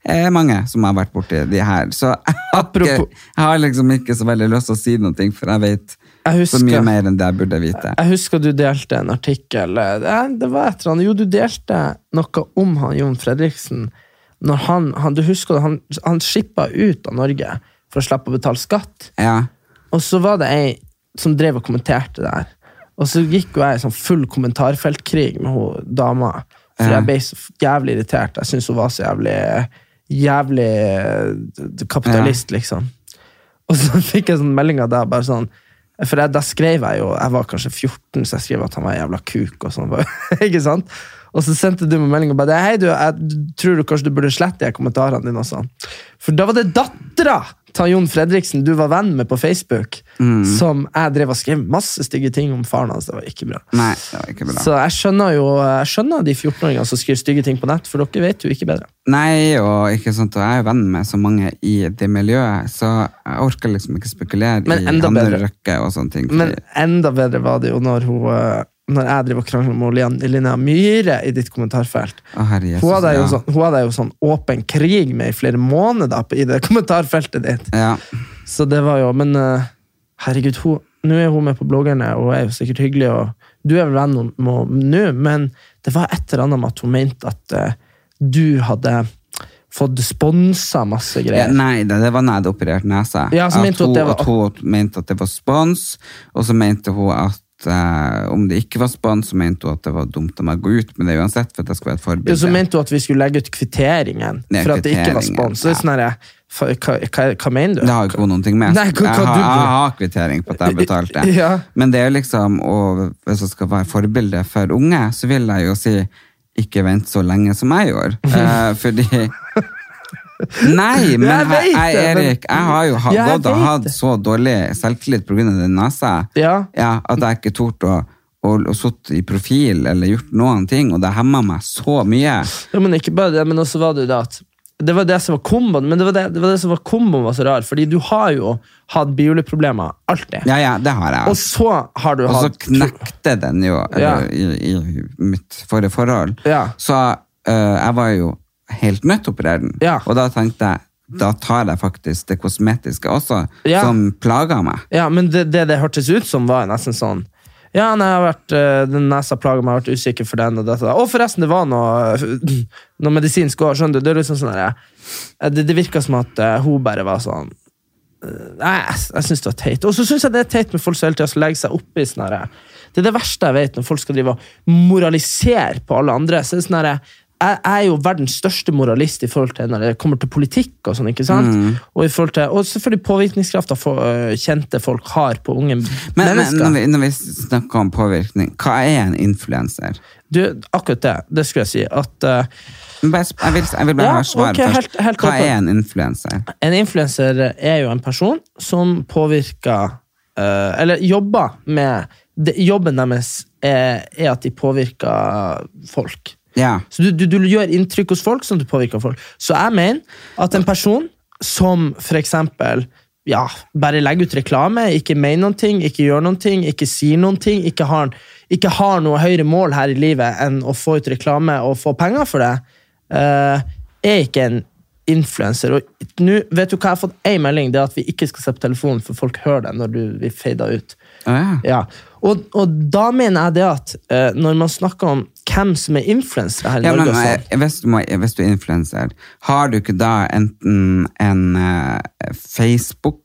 Speaker 1: eh, mange som har vært borti de her. Så jeg har, ikke,
Speaker 2: Apropos-
Speaker 1: jeg har liksom ikke så veldig lyst til å si noe, for jeg vet
Speaker 2: Jeg
Speaker 1: så mye
Speaker 2: husker-
Speaker 1: mer enn det jeg burde vite.
Speaker 2: Jeg husker du delte en artikkel eh, Det, det var et eller annet. Jo, du delte noe om han Jon Fredriksen. Når han, han, du husker det, han, han skippa ut av Norge for å slippe å betale skatt.
Speaker 1: Ja.
Speaker 2: Og så var det ei som drev og kommenterte det her. Og så gikk jo jeg i sånn full kommentarfeltkrig med hun dama. For jeg ble så f- jævlig irritert. Jeg syntes hun var så jævlig Jævlig eh, d- d- kapitalist, liksom. Og så fikk jeg sånn melding av deg, bare sånn For jeg, da skrev jeg jo Jeg var kanskje 14, så jeg skrev at han var en jævla kuk og sånn. ikke sant? Og så sendte du meg melding og bare Hei, du, jeg tror du kanskje du burde slette de kommentarene dine og sånn. For da var det dattera til Jon Fredriksen du var venn med på Facebook,
Speaker 1: Mm.
Speaker 2: som jeg drev og skrev masse stygge ting om faren hans. Det var ikke bra.
Speaker 1: Nei, det var ikke bra.
Speaker 2: Så jeg skjønner jo Jeg skjønner de 14-åringene som skriver stygge ting på nett, for dere vet jo ikke bedre.
Speaker 1: Nei, og ikke sant, og jeg er venn med så mange i det miljøet, så jeg orker liksom ikke spekulere
Speaker 2: Men
Speaker 1: i
Speaker 2: enda
Speaker 1: andre
Speaker 2: bedre.
Speaker 1: røkke og sånne ting.
Speaker 2: Men
Speaker 1: fordi-
Speaker 2: enda bedre var det jo når hun eh, når jeg driver og krangler med Lian- Linnea Myhre i ditt kommentarfelt.
Speaker 1: Å, herre Jesus,
Speaker 2: hun hadde jeg jo
Speaker 1: ja.
Speaker 2: sånn, hun hadde jeg jo sånn åpen krig med i flere måneder på- i det kommentarfeltet ditt.
Speaker 1: ja.
Speaker 2: Så det var jo Men eh, herregud, hun, nå er hun med på bloggerne og er jo sikkert hyggelig. Og du er vel venn med henne nå, men det var et eller annet med at hun mente at eh, du hadde fått sponsa masse
Speaker 1: Ja,
Speaker 2: greier.
Speaker 1: nei, det, det var når jeg hadde operert nesa.
Speaker 2: Ja, så mente hun at det var-
Speaker 1: at hun mente at det var spons, og så mente hun at eh, om det ikke var spons, så mente hun at det var dumt av meg å gå ut med det uansett, for at jeg skulle være et
Speaker 2: Jo,
Speaker 1: forbilde.
Speaker 2: så mente hun at vi skulle legge ut kvitteringen
Speaker 1: Ja,
Speaker 2: for at det ikke var
Speaker 1: kvitteringen,
Speaker 2: spons. Så det er Sånn her, fa- hva, hva, hva mener du?
Speaker 1: Det har jo ikke hun noen ting med.
Speaker 2: Nei, hva- hva
Speaker 1: jeg, har,
Speaker 2: du-
Speaker 1: jeg har kvittering på at jeg betalte.
Speaker 2: Ja.
Speaker 1: Men det er jo liksom, og hvis jeg skal være forbilde for unge, så vil jeg jo si ikke vent så lenge som jeg gjorde. Eh, fordi Nei, men
Speaker 2: Jeg
Speaker 1: jeg,
Speaker 2: vet
Speaker 1: jeg,
Speaker 2: det, men-
Speaker 1: Erik, jeg har jo ha,
Speaker 2: Ja, jeg
Speaker 1: gått og
Speaker 2: vet
Speaker 1: hatt
Speaker 2: det.
Speaker 1: så dårlig selvtillit pga. den nesa
Speaker 2: Ja.
Speaker 1: at jeg ikke torde å, å, å sitte i profil eller gjort noen ting, og det hemma meg så mye.
Speaker 2: Ja, men ikke bare det, men også var det jo det at det var det som var komboen, men det var det, det, var det som var komboen var så rar, fordi du har jo hatt bihuleproblemer, alltid.
Speaker 1: Ja, ja, det har jeg. altså.
Speaker 2: Og så har du
Speaker 1: Og så
Speaker 2: hatt
Speaker 1: knekte den jo eller, i, i mitt forrige forhold.
Speaker 2: Ja.
Speaker 1: Så eh, jeg var jo helt nødt til å operere den.
Speaker 2: Ja.
Speaker 1: Og da tenkte jeg da tar jeg faktisk det kosmetiske også,
Speaker 2: Ja.
Speaker 1: som plager meg.
Speaker 2: Ja, men det, det det hørtes ut som, var nesten sånn ja, nei, jeg har vært, eh, den nesa plager meg, jeg har vært usikker for den og dette. Og forresten, det var noe, noe medisinsk òg, skjønner du. Det, er liksom sånn der, eh, det, det virka som at eh, hun bare var sånn eh, Nei, jeg, jeg syns det var teit. Og så syns jeg det er teit med folk som hele tida legger seg oppi sånn her. Det er det verste jeg vet, når folk skal drive og moralisere på alle andre. Så det er sånn her, jeg, jeg er jo verdens største moralist i forhold til når det kommer til politikk og sånn. ikke sant?
Speaker 1: Mm.
Speaker 2: Og, i forhold til, og selvfølgelig påvirkningskrafta øh, kjente folk har på unge
Speaker 1: Men, men
Speaker 2: mennesker.
Speaker 1: når, vi, når vi snakker om påvirkning, hva er en influenser?
Speaker 2: Du, akkurat det. Det skulle jeg si. At eh,
Speaker 1: Men bare sp- Jeg vil, jeg vil bare
Speaker 2: Ja,
Speaker 1: ha svaret først.
Speaker 2: ok, helt- helt
Speaker 1: hva
Speaker 2: åpen.
Speaker 1: er en influenser?
Speaker 2: en influenser er jo en person som påvirker eh, Eller jobber med det, Jobben deres er, er at de påvirker folk.
Speaker 1: Ja.
Speaker 2: Så du, du, du gjør inntrykk hos folk som du påvirker folk. Så jeg mener at en person som for eksempel ja, bare legger ut reklame, ikke mener noen ting, ikke gjør noen ting, ikke sier noen ting, ikke har, ikke har noe høyere mål her i livet enn å få ut reklame og få penger for det, eh, er ikke en influenser. Og nå vet du hva jeg har fått én melding, det er at vi ikke skal se på telefonen, for folk hører det når du vi fader ut.
Speaker 1: Ah, ja.
Speaker 2: Ja. Og, og da mener jeg det at eh, når man snakker om hvem som er influensere her i
Speaker 1: Ja, men
Speaker 2: Norge og sånn,
Speaker 1: eh, hvis du, må, hvis du er influenser, har du ikke da enten en eh, Facebook,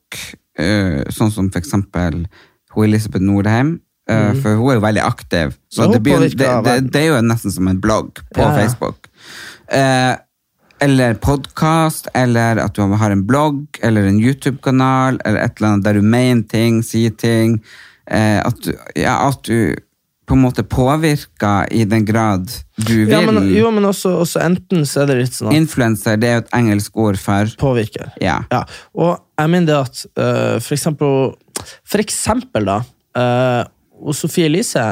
Speaker 1: eh, sånn som for eksempel hun Elisabeth Nordheim, eh, for hun er jo veldig aktiv,
Speaker 2: Mhm. Ja,
Speaker 1: så
Speaker 2: hun
Speaker 1: det, blir,
Speaker 2: påvirker
Speaker 1: det, det,
Speaker 2: verden.
Speaker 1: det er jo nesten som en blogg på
Speaker 2: Ja, ja.
Speaker 1: Facebook. Eh, eller podcast, eller at du har en blogg, eller en YouTube-kanal, eller et eller annet der du mener ting, sier ting, eh, at, du, ja, at du på en måte påvirker i den grad du vil.
Speaker 2: ja, men, jo, men også, også enten så er det litt sånn at
Speaker 1: Influencer, det er jo et engelsk ord for
Speaker 2: påvirker.
Speaker 1: Ja.
Speaker 2: Ja, og jeg mener det at eh, for eksempel For eksempel da eh, og Sofie Elise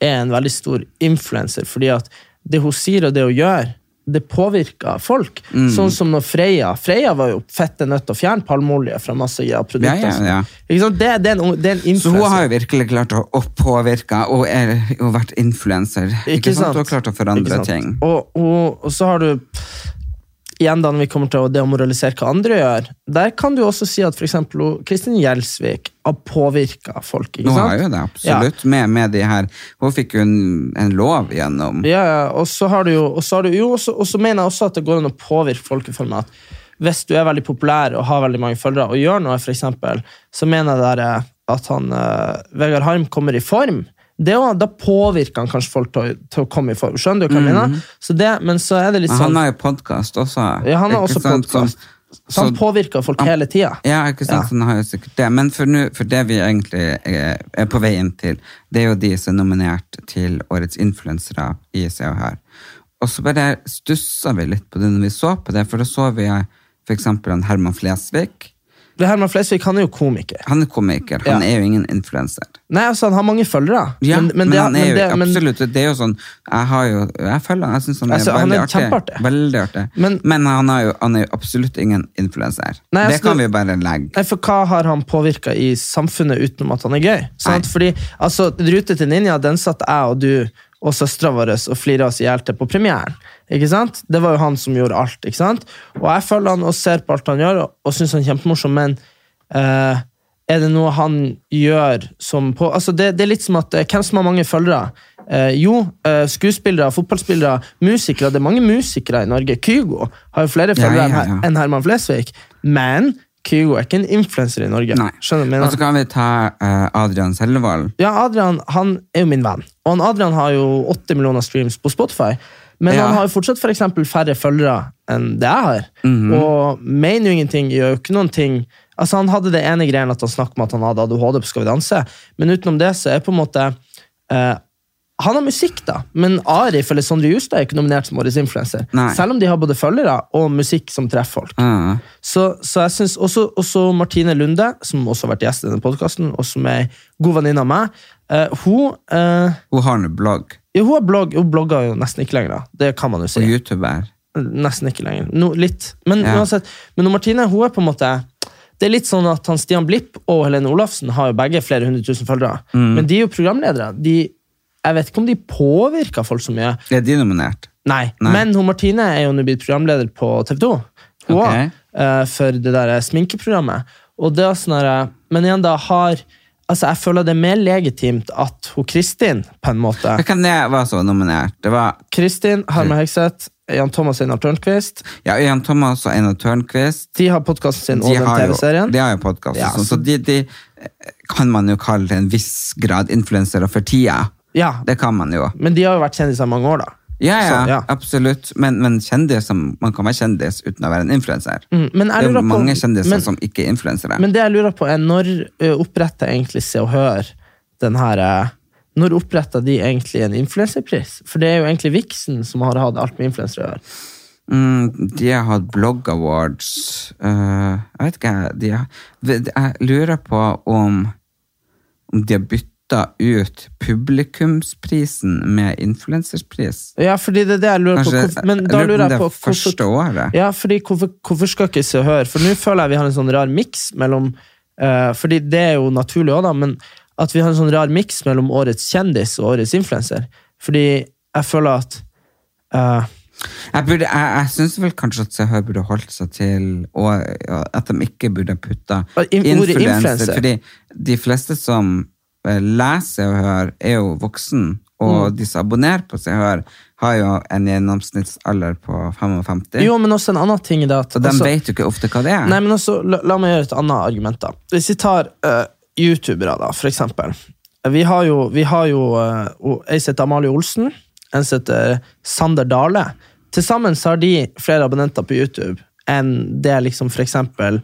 Speaker 2: er en veldig stor influenser, fordi at det hun sier og det hun gjør, det påvirker folk.
Speaker 1: Mm.
Speaker 2: Sånn som når Freya Freya var jo fette nødt til å fjerne palmeolje fra masse av
Speaker 1: Ja,
Speaker 2: produkter.
Speaker 1: ja, ja.
Speaker 2: Ikke sant? Det, det, er en, det er en
Speaker 1: Så hun
Speaker 2: influenser.
Speaker 1: har jo virkelig klart å, å påvirke, og er jo vært influenser. Ikke, sant? Hun har klart å
Speaker 2: Ikke
Speaker 1: forandre
Speaker 2: sant?
Speaker 1: ting.
Speaker 2: Og, og, og så har du Igjen da når vi kommer til å demoralisere hva andre gjør, der kan du også si at for eksempel hun- Kristin Gjelsvik har påvirka folk. ikke
Speaker 1: Hun
Speaker 2: sant?
Speaker 1: har jo det, absolutt. Med, med de her Hun fikk jo en, en lov gjennom
Speaker 2: Ja, ja, og så har du jo, og så har du, jo og så- og så mener jeg også at det går an å påvirke folk i form av at hvis du er veldig populær og har veldig mange følgere og gjør noe, for eksempel, så mener jeg der, eh, at han, eh, Vegard Harm kommer i form. Det, er jo- da påvirker han kanskje folk til, å- til å komme i form. Skjønner du hva jeg mener? Så det, men så er det litt
Speaker 1: Mhm. Men han
Speaker 2: sånn
Speaker 1: har jo podkast også.
Speaker 2: Ja, han har
Speaker 1: ikke
Speaker 2: også
Speaker 1: sant, som-
Speaker 2: podkast. Så han
Speaker 1: så-
Speaker 2: påvirker folk
Speaker 1: han-
Speaker 2: hele tida.
Speaker 1: Ja, ikke sant?
Speaker 2: Ja.
Speaker 1: Så han har jo sikkert det. Men for, nå- for det vi egentlig er, er på vei inn til, det er jo de som er nominert til årets influensere i Se og Hør. Og så bare stussa vi litt på det når vi så på det, for da så vi f.eks. Herman Flesvig.
Speaker 2: Det Herman Flesvig han er jo komiker.
Speaker 1: Han er komiker, han
Speaker 2: Ja.
Speaker 1: er jo ingen influenser.
Speaker 2: Nei, altså Han har mange følgere.
Speaker 1: Ja, men,
Speaker 2: det-
Speaker 1: han er jo
Speaker 2: det- men-
Speaker 1: absolutt Det er jo sånn Jeg, har jo, jeg følger han, jeg syns han er
Speaker 2: Altså, han
Speaker 1: veldig
Speaker 2: er
Speaker 1: artig.
Speaker 2: kjempeartig.
Speaker 1: Veldig artig. Men,
Speaker 2: Men-
Speaker 1: han, er jo, han er jo absolutt ingen influenser.
Speaker 2: Nei,
Speaker 1: Det
Speaker 2: altså,
Speaker 1: kan
Speaker 2: du-
Speaker 1: vi bare legge.
Speaker 2: Nei, for Hva har han påvirka i samfunnet utenom at han er gøy? Sant? Fordi, altså, Rute til Ninja den satt jeg og du og søstera vår og flira oss i hjel til på premieren. Ikke sant? Det var jo han som gjorde alt. ikke sant? Og jeg følger han og ser på alt han gjør, og, og syns han er kjempemorsom, men eh, er det noe han gjør som på Altså, det, det er litt som at eh, hvem som har mange følgere? Eh, jo, eh, skuespillere, fotballspillere, musikere. Det er mange musikere i Norge. Kygo har jo flere
Speaker 1: Ja,
Speaker 2: følgere
Speaker 1: ja,
Speaker 2: enn-
Speaker 1: ja.
Speaker 2: enn Herman Flesvig, men Kygo er ikke en influenser i Norge.
Speaker 1: Nei.
Speaker 2: Skjønner du hva jeg
Speaker 1: Og så
Speaker 2: mener?
Speaker 1: kan vi ta eh, Adrian Sellevold.
Speaker 2: Ja, Adrian han er jo min venn, og han Adrian har jo 80 millioner streams på Spotify. Men
Speaker 1: Ja.
Speaker 2: han har jo fortsatt for eksempel færre følgere enn det jeg har.
Speaker 1: Mhm.
Speaker 2: Og mener jo ingenting, gjør jo ikke noen ting. Altså Han hadde det ene greien at han snakket om at han hadde ADHD på Skal vi danse, men utenom det så er på en måte eh, Han har musikk, da, men Arif eller Sondre Justad er ikke nominert som årets influenser.
Speaker 1: Nei.
Speaker 2: Selv om de har både følgere og musikk som treffer folk.
Speaker 1: Ja.
Speaker 2: Så, så jeg synes også, også Martine Lunde, som også har vært gjest i denne podkasten, og som er en god venninne av meg eh, Hun eh,
Speaker 1: hun har nå blogg
Speaker 2: ja, hun, har blogg, hun blogger jo nesten ikke lenger, da. Det kan man jo
Speaker 1: på
Speaker 2: si.
Speaker 1: YouTuber.
Speaker 2: Nesten ikke lenger. No, litt. Men
Speaker 1: Ja.
Speaker 2: uansett, men hun Martine hun er på en måte det er litt sånn at han Stian Blipp og Helene Olafsen har jo begge flere hundre tusen følgere. Men de er jo programledere. De, jeg vet ikke om de påvirker folk så mye.
Speaker 1: Er de nominert?
Speaker 2: Nei,
Speaker 1: Nei.
Speaker 2: men hun Martine er jo nå blitt programleder på TV 2. Hun
Speaker 1: Ok.
Speaker 2: også, eh, for det der sminkeprogrammet. Og det er sånn her, men igjen, da har Altså, Jeg føler det er mer legitimt at hun Kristin på en måte
Speaker 1: Hvem det var som var nominert? Det var
Speaker 2: Kristin,
Speaker 1: Mm.
Speaker 2: Harma Hegseth, Jan Thomas og Einar Tørnquist.
Speaker 1: ja, Jan Thomas og Einar Tørnquist.
Speaker 2: De har podkasten sin og
Speaker 1: De
Speaker 2: den
Speaker 1: har jo,
Speaker 2: TV-serien.
Speaker 1: de har jo podkast,
Speaker 2: Ja,
Speaker 1: og sånn, så
Speaker 2: så-
Speaker 1: de, de eh, kan man jo kalle til en viss grad influensere for tida.
Speaker 2: Ja,
Speaker 1: Det kan man jo.
Speaker 2: Men de har jo vært kjendiser i mange år, da.
Speaker 1: Ja, ja,
Speaker 2: Så, ja.
Speaker 1: absolutt. Men, men kjendis, som- man kan være kjendis uten å være en influenser.
Speaker 2: Mm, men jeg
Speaker 1: det er
Speaker 2: lurer
Speaker 1: jo
Speaker 2: på-
Speaker 1: mange kjendiser
Speaker 2: men-
Speaker 1: som ikke er influensere.
Speaker 2: Men det jeg lurer på er, når ø, oppretter egentlig Se og Hør den her ø, Når oppretta de egentlig en influenserpris? For det er jo egentlig Vixen som har hatt alt med influensere å gjøre.
Speaker 1: Mm, de har hatt blog awards. eh, jeg vet ikke, de har, ved- jeg lurer på om, om de har bytta ut publikumsprisen med influenserpris.
Speaker 2: Ja, fordi det er det jeg lurer
Speaker 1: Kanskje-
Speaker 2: på. Hvorfor, men da
Speaker 1: jeg lurer på om
Speaker 2: lurer
Speaker 1: det
Speaker 2: jeg
Speaker 1: er
Speaker 2: på
Speaker 1: første året.
Speaker 2: Ja, fordi hvorfor, hvorfor skal ikke Se og Hør For nå føler jeg vi har en sånn rar miks mellom eh, Fordi det er jo naturlig òg, da, men at vi har en sånn rar miks mellom årets kjendis og årets influenser. Fordi jeg føler at eh,
Speaker 1: Jeg, burde- jeg, jeg syns vel kanskje at Sehør burde holdt seg til Og og at de ikke burde putta
Speaker 2: Og in- ordet influencer.
Speaker 1: Fordi de fleste som eh, leser og hører, er jo voksen. Og
Speaker 2: Mm.
Speaker 1: de som abonnerer på Se og Hør, har jo en gjennomsnittsalder på 55.
Speaker 2: Jo, men også en annen ting i det at
Speaker 1: så de
Speaker 2: altså-
Speaker 1: vet jo ikke ofte hva det er.
Speaker 2: Nei, men også, la, la meg gjøre et annet argument da. Hvis vi tar eh, youtubere da, for eksempel. Vi har jo, vi har jo eh, o- en som heter Amalie Olsen, en som heter eh, Sander Dale. Tilsammen så har de flere abonnenter på YouTube enn det liksom for eksempel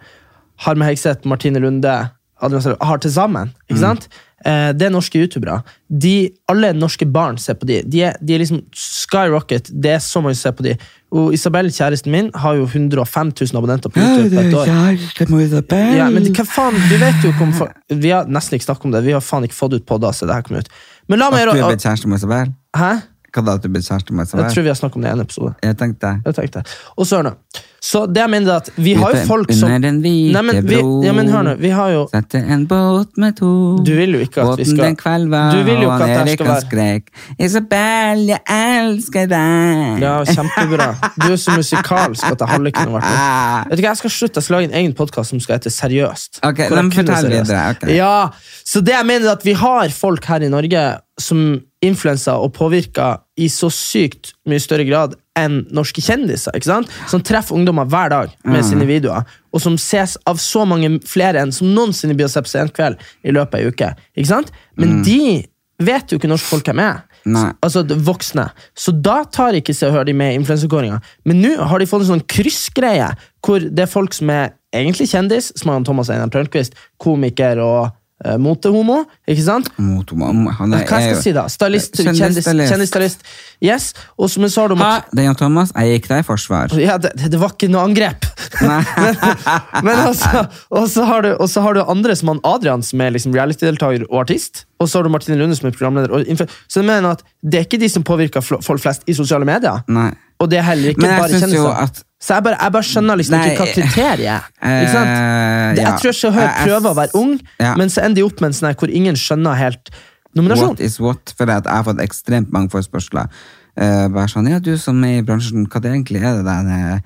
Speaker 2: Harme Hegseth, Martine Lunde, Adrian Sørgaard har til sammen. Ikke sant? Eh, det er norske youtubere. De, alle norske barn ser på de. De er, de er liksom skyrocket. Det er så mange som ser på de. Og Isabel, kjæresten min, har jo 105 000 abonnenter på YouTube på et år. Ja, men hva faen, du vet jo ikke om for... Vi har nesten ikke snakket om det. Vi har faen ikke fått ut podda, så det her kom ut. Men la meg
Speaker 1: At du er
Speaker 2: gjøre...
Speaker 1: blitt kjæreste med Isabel?
Speaker 2: Hæ?
Speaker 1: Hva da, at du er blitt kjæreste med
Speaker 2: Jeg
Speaker 1: Isabel?
Speaker 2: tror vi har snakket om det i en episode.
Speaker 1: Jeg tenkte
Speaker 2: Jeg tenkte. Og så hør nå. Så det jeg mener er at vi har jo
Speaker 1: Ute
Speaker 2: folk som...
Speaker 1: under den hvite
Speaker 2: Nei, men, vi,
Speaker 1: bro.
Speaker 2: ja, men hør nå. Vi har jo...
Speaker 1: Sette en båt med to.
Speaker 2: Du vil jo ikke at vi skal-
Speaker 1: Båten den kvelva,
Speaker 2: Du vil jo ikke
Speaker 1: og
Speaker 2: at det her
Speaker 1: Erik
Speaker 2: skal
Speaker 1: han
Speaker 2: være-
Speaker 1: skrek. Isabel, jeg elsker deg.
Speaker 2: Ja, kjempebra. Du er så musikalsk at jeg hadde kunne vært
Speaker 1: Ah.
Speaker 2: med. Vet du hva, Jeg skal slutte, jeg skal lage en egen podkast som skal hete Seriøst.
Speaker 1: Ok,
Speaker 2: Hvor jeg
Speaker 1: men
Speaker 2: kun er
Speaker 1: fortell
Speaker 2: seriøs.
Speaker 1: videre, ok.
Speaker 2: Ja, så det jeg mener er at Vi har folk her i Norge som influenser og påvirker i så sykt mye større grad enn norske kjendiser. ikke sant? Som treffer ungdommer hver dag
Speaker 1: Ah.
Speaker 2: med sine videoer, og som ses av så mange flere enn som noensinne blir å se på Senkveld i løpet av ei uke. ikke sant? Men de vet jo ikke norske folk hvem er.
Speaker 1: Mm. Nei.
Speaker 2: Altså d- voksne. Så da tar ikke Se og Hør de med i influenserkåringa. Men nå har de fått en sånn kryssgreie, hvor det er folk som er egentlig kjendis, som han Thomas Einar Tørnquist, komiker og eh, motehomo, ikke sant?
Speaker 1: Mot om- han
Speaker 2: Hva
Speaker 1: er,
Speaker 2: skal jeg si da? Stylist, kjendis, kjendisstylist. Yes. Og så, men så har de
Speaker 1: Ha, det er Jan Thomas, jeg gikk deg i forsvar.
Speaker 2: ja, det, det var ikke noe angrep.
Speaker 1: Nei.
Speaker 2: men, men altså, og så har du, og så har du andre som han Adrian, som er liksom reality-deltaker og artist. Og så har du Martine Lunde, som er programleder. Og influ- så jeg mener at det er ikke de som påvirker fl- folk flest i sosiale medier.
Speaker 1: Nei.
Speaker 2: Og det er heller ikke
Speaker 1: Men jeg
Speaker 2: bare
Speaker 1: synes jo
Speaker 2: kjendiser.
Speaker 1: at-
Speaker 2: så jeg bare, jeg bare skjønner liksom
Speaker 1: Nei,
Speaker 2: ikke hva kriteriet er. Ikke sant?
Speaker 1: eh,
Speaker 2: Det-
Speaker 1: ja.
Speaker 2: Jeg tror ikke Høyre
Speaker 1: Jeg- jeg-
Speaker 2: prøver å være ung,
Speaker 1: Ja.
Speaker 2: men så ender de opp med en sånn her hvor ingen skjønner helt nominasjon.
Speaker 1: What is what? For at jeg har fått ekstremt mange forespørsler. Eh, bare sånn, ja, du som er i bransjen, hva det egentlig er det der eh,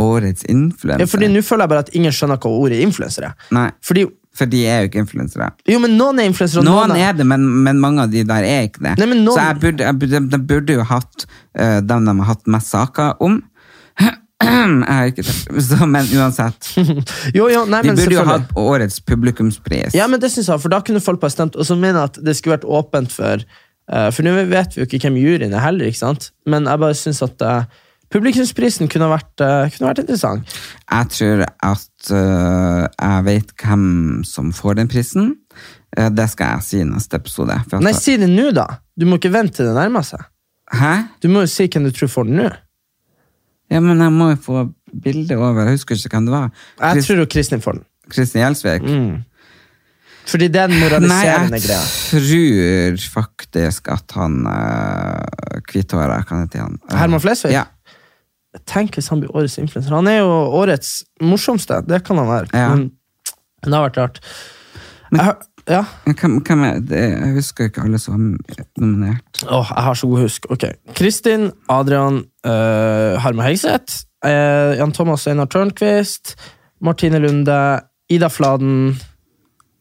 Speaker 1: årets influenser?
Speaker 2: Ja, fordi nå føler jeg bare at ingen skjønner hva ordet influenser er.
Speaker 1: Nei,
Speaker 2: Fordi,
Speaker 1: for de er jo ikke influensere.
Speaker 2: jo, men noen er influensere, og
Speaker 1: Noen er det, men, men mange av de der er ikke det.
Speaker 2: Nei, men noen-
Speaker 1: Så jeg burde, jeg burde, de burde jo hatt eh, dem de har hatt mest saker om. jeg har ikke det, så, men uansett.
Speaker 2: Jo, jo, nei,
Speaker 1: De
Speaker 2: men
Speaker 1: burde jo
Speaker 2: selvfølgelig.
Speaker 1: hatt årets publikumspris.
Speaker 2: Ja, men det synes jeg, for da kunne folk bare stemt, og så mener jeg at det skulle vært åpent for eh, For nå vet vi jo ikke hvem juryen er heller, ikke sant? Men jeg bare synes at eh, publikumsprisen kunne vært, eh, kunne vært interessant.
Speaker 1: Jeg tror at eh, jeg vet hvem som får den prisen. Eh, det skal jeg si i neste episode. for at-
Speaker 2: Nei, si det nå, da! Du må ikke vente til det nærmer seg.
Speaker 1: Hæ?
Speaker 2: Du må jo si hvem du tror får den nå.
Speaker 1: Ja, men jeg må jo få bildet over. Jeg husker ikke hvem det var.
Speaker 2: Jeg
Speaker 1: Chris-
Speaker 2: tror jo Kristin får den.
Speaker 1: Kristin Gjelsvik.
Speaker 2: Fordi det er den
Speaker 1: Nei,
Speaker 2: moraliserende
Speaker 1: jeg
Speaker 2: greia.
Speaker 1: tror faktisk at han uh, Kvithåra, kan jeg si han? Eh,
Speaker 2: Herman Flesvig?
Speaker 1: Ja.
Speaker 2: Tenk hvis han blir årets influenser. Han er jo årets morsomste. Det kan han være.
Speaker 1: Ja.
Speaker 2: Men det har vært rart. Jeg, hø- ja.
Speaker 1: Men Hvem, hvem er det? Jeg husker ikke alle som var nominert.
Speaker 2: Åh, jeg har så god husk. Ok. Kristin, Adrian, uh, Harma Hegseth, eh, Jan Thomas Einar Tørnquist, Martine Lunde, Ida Fladen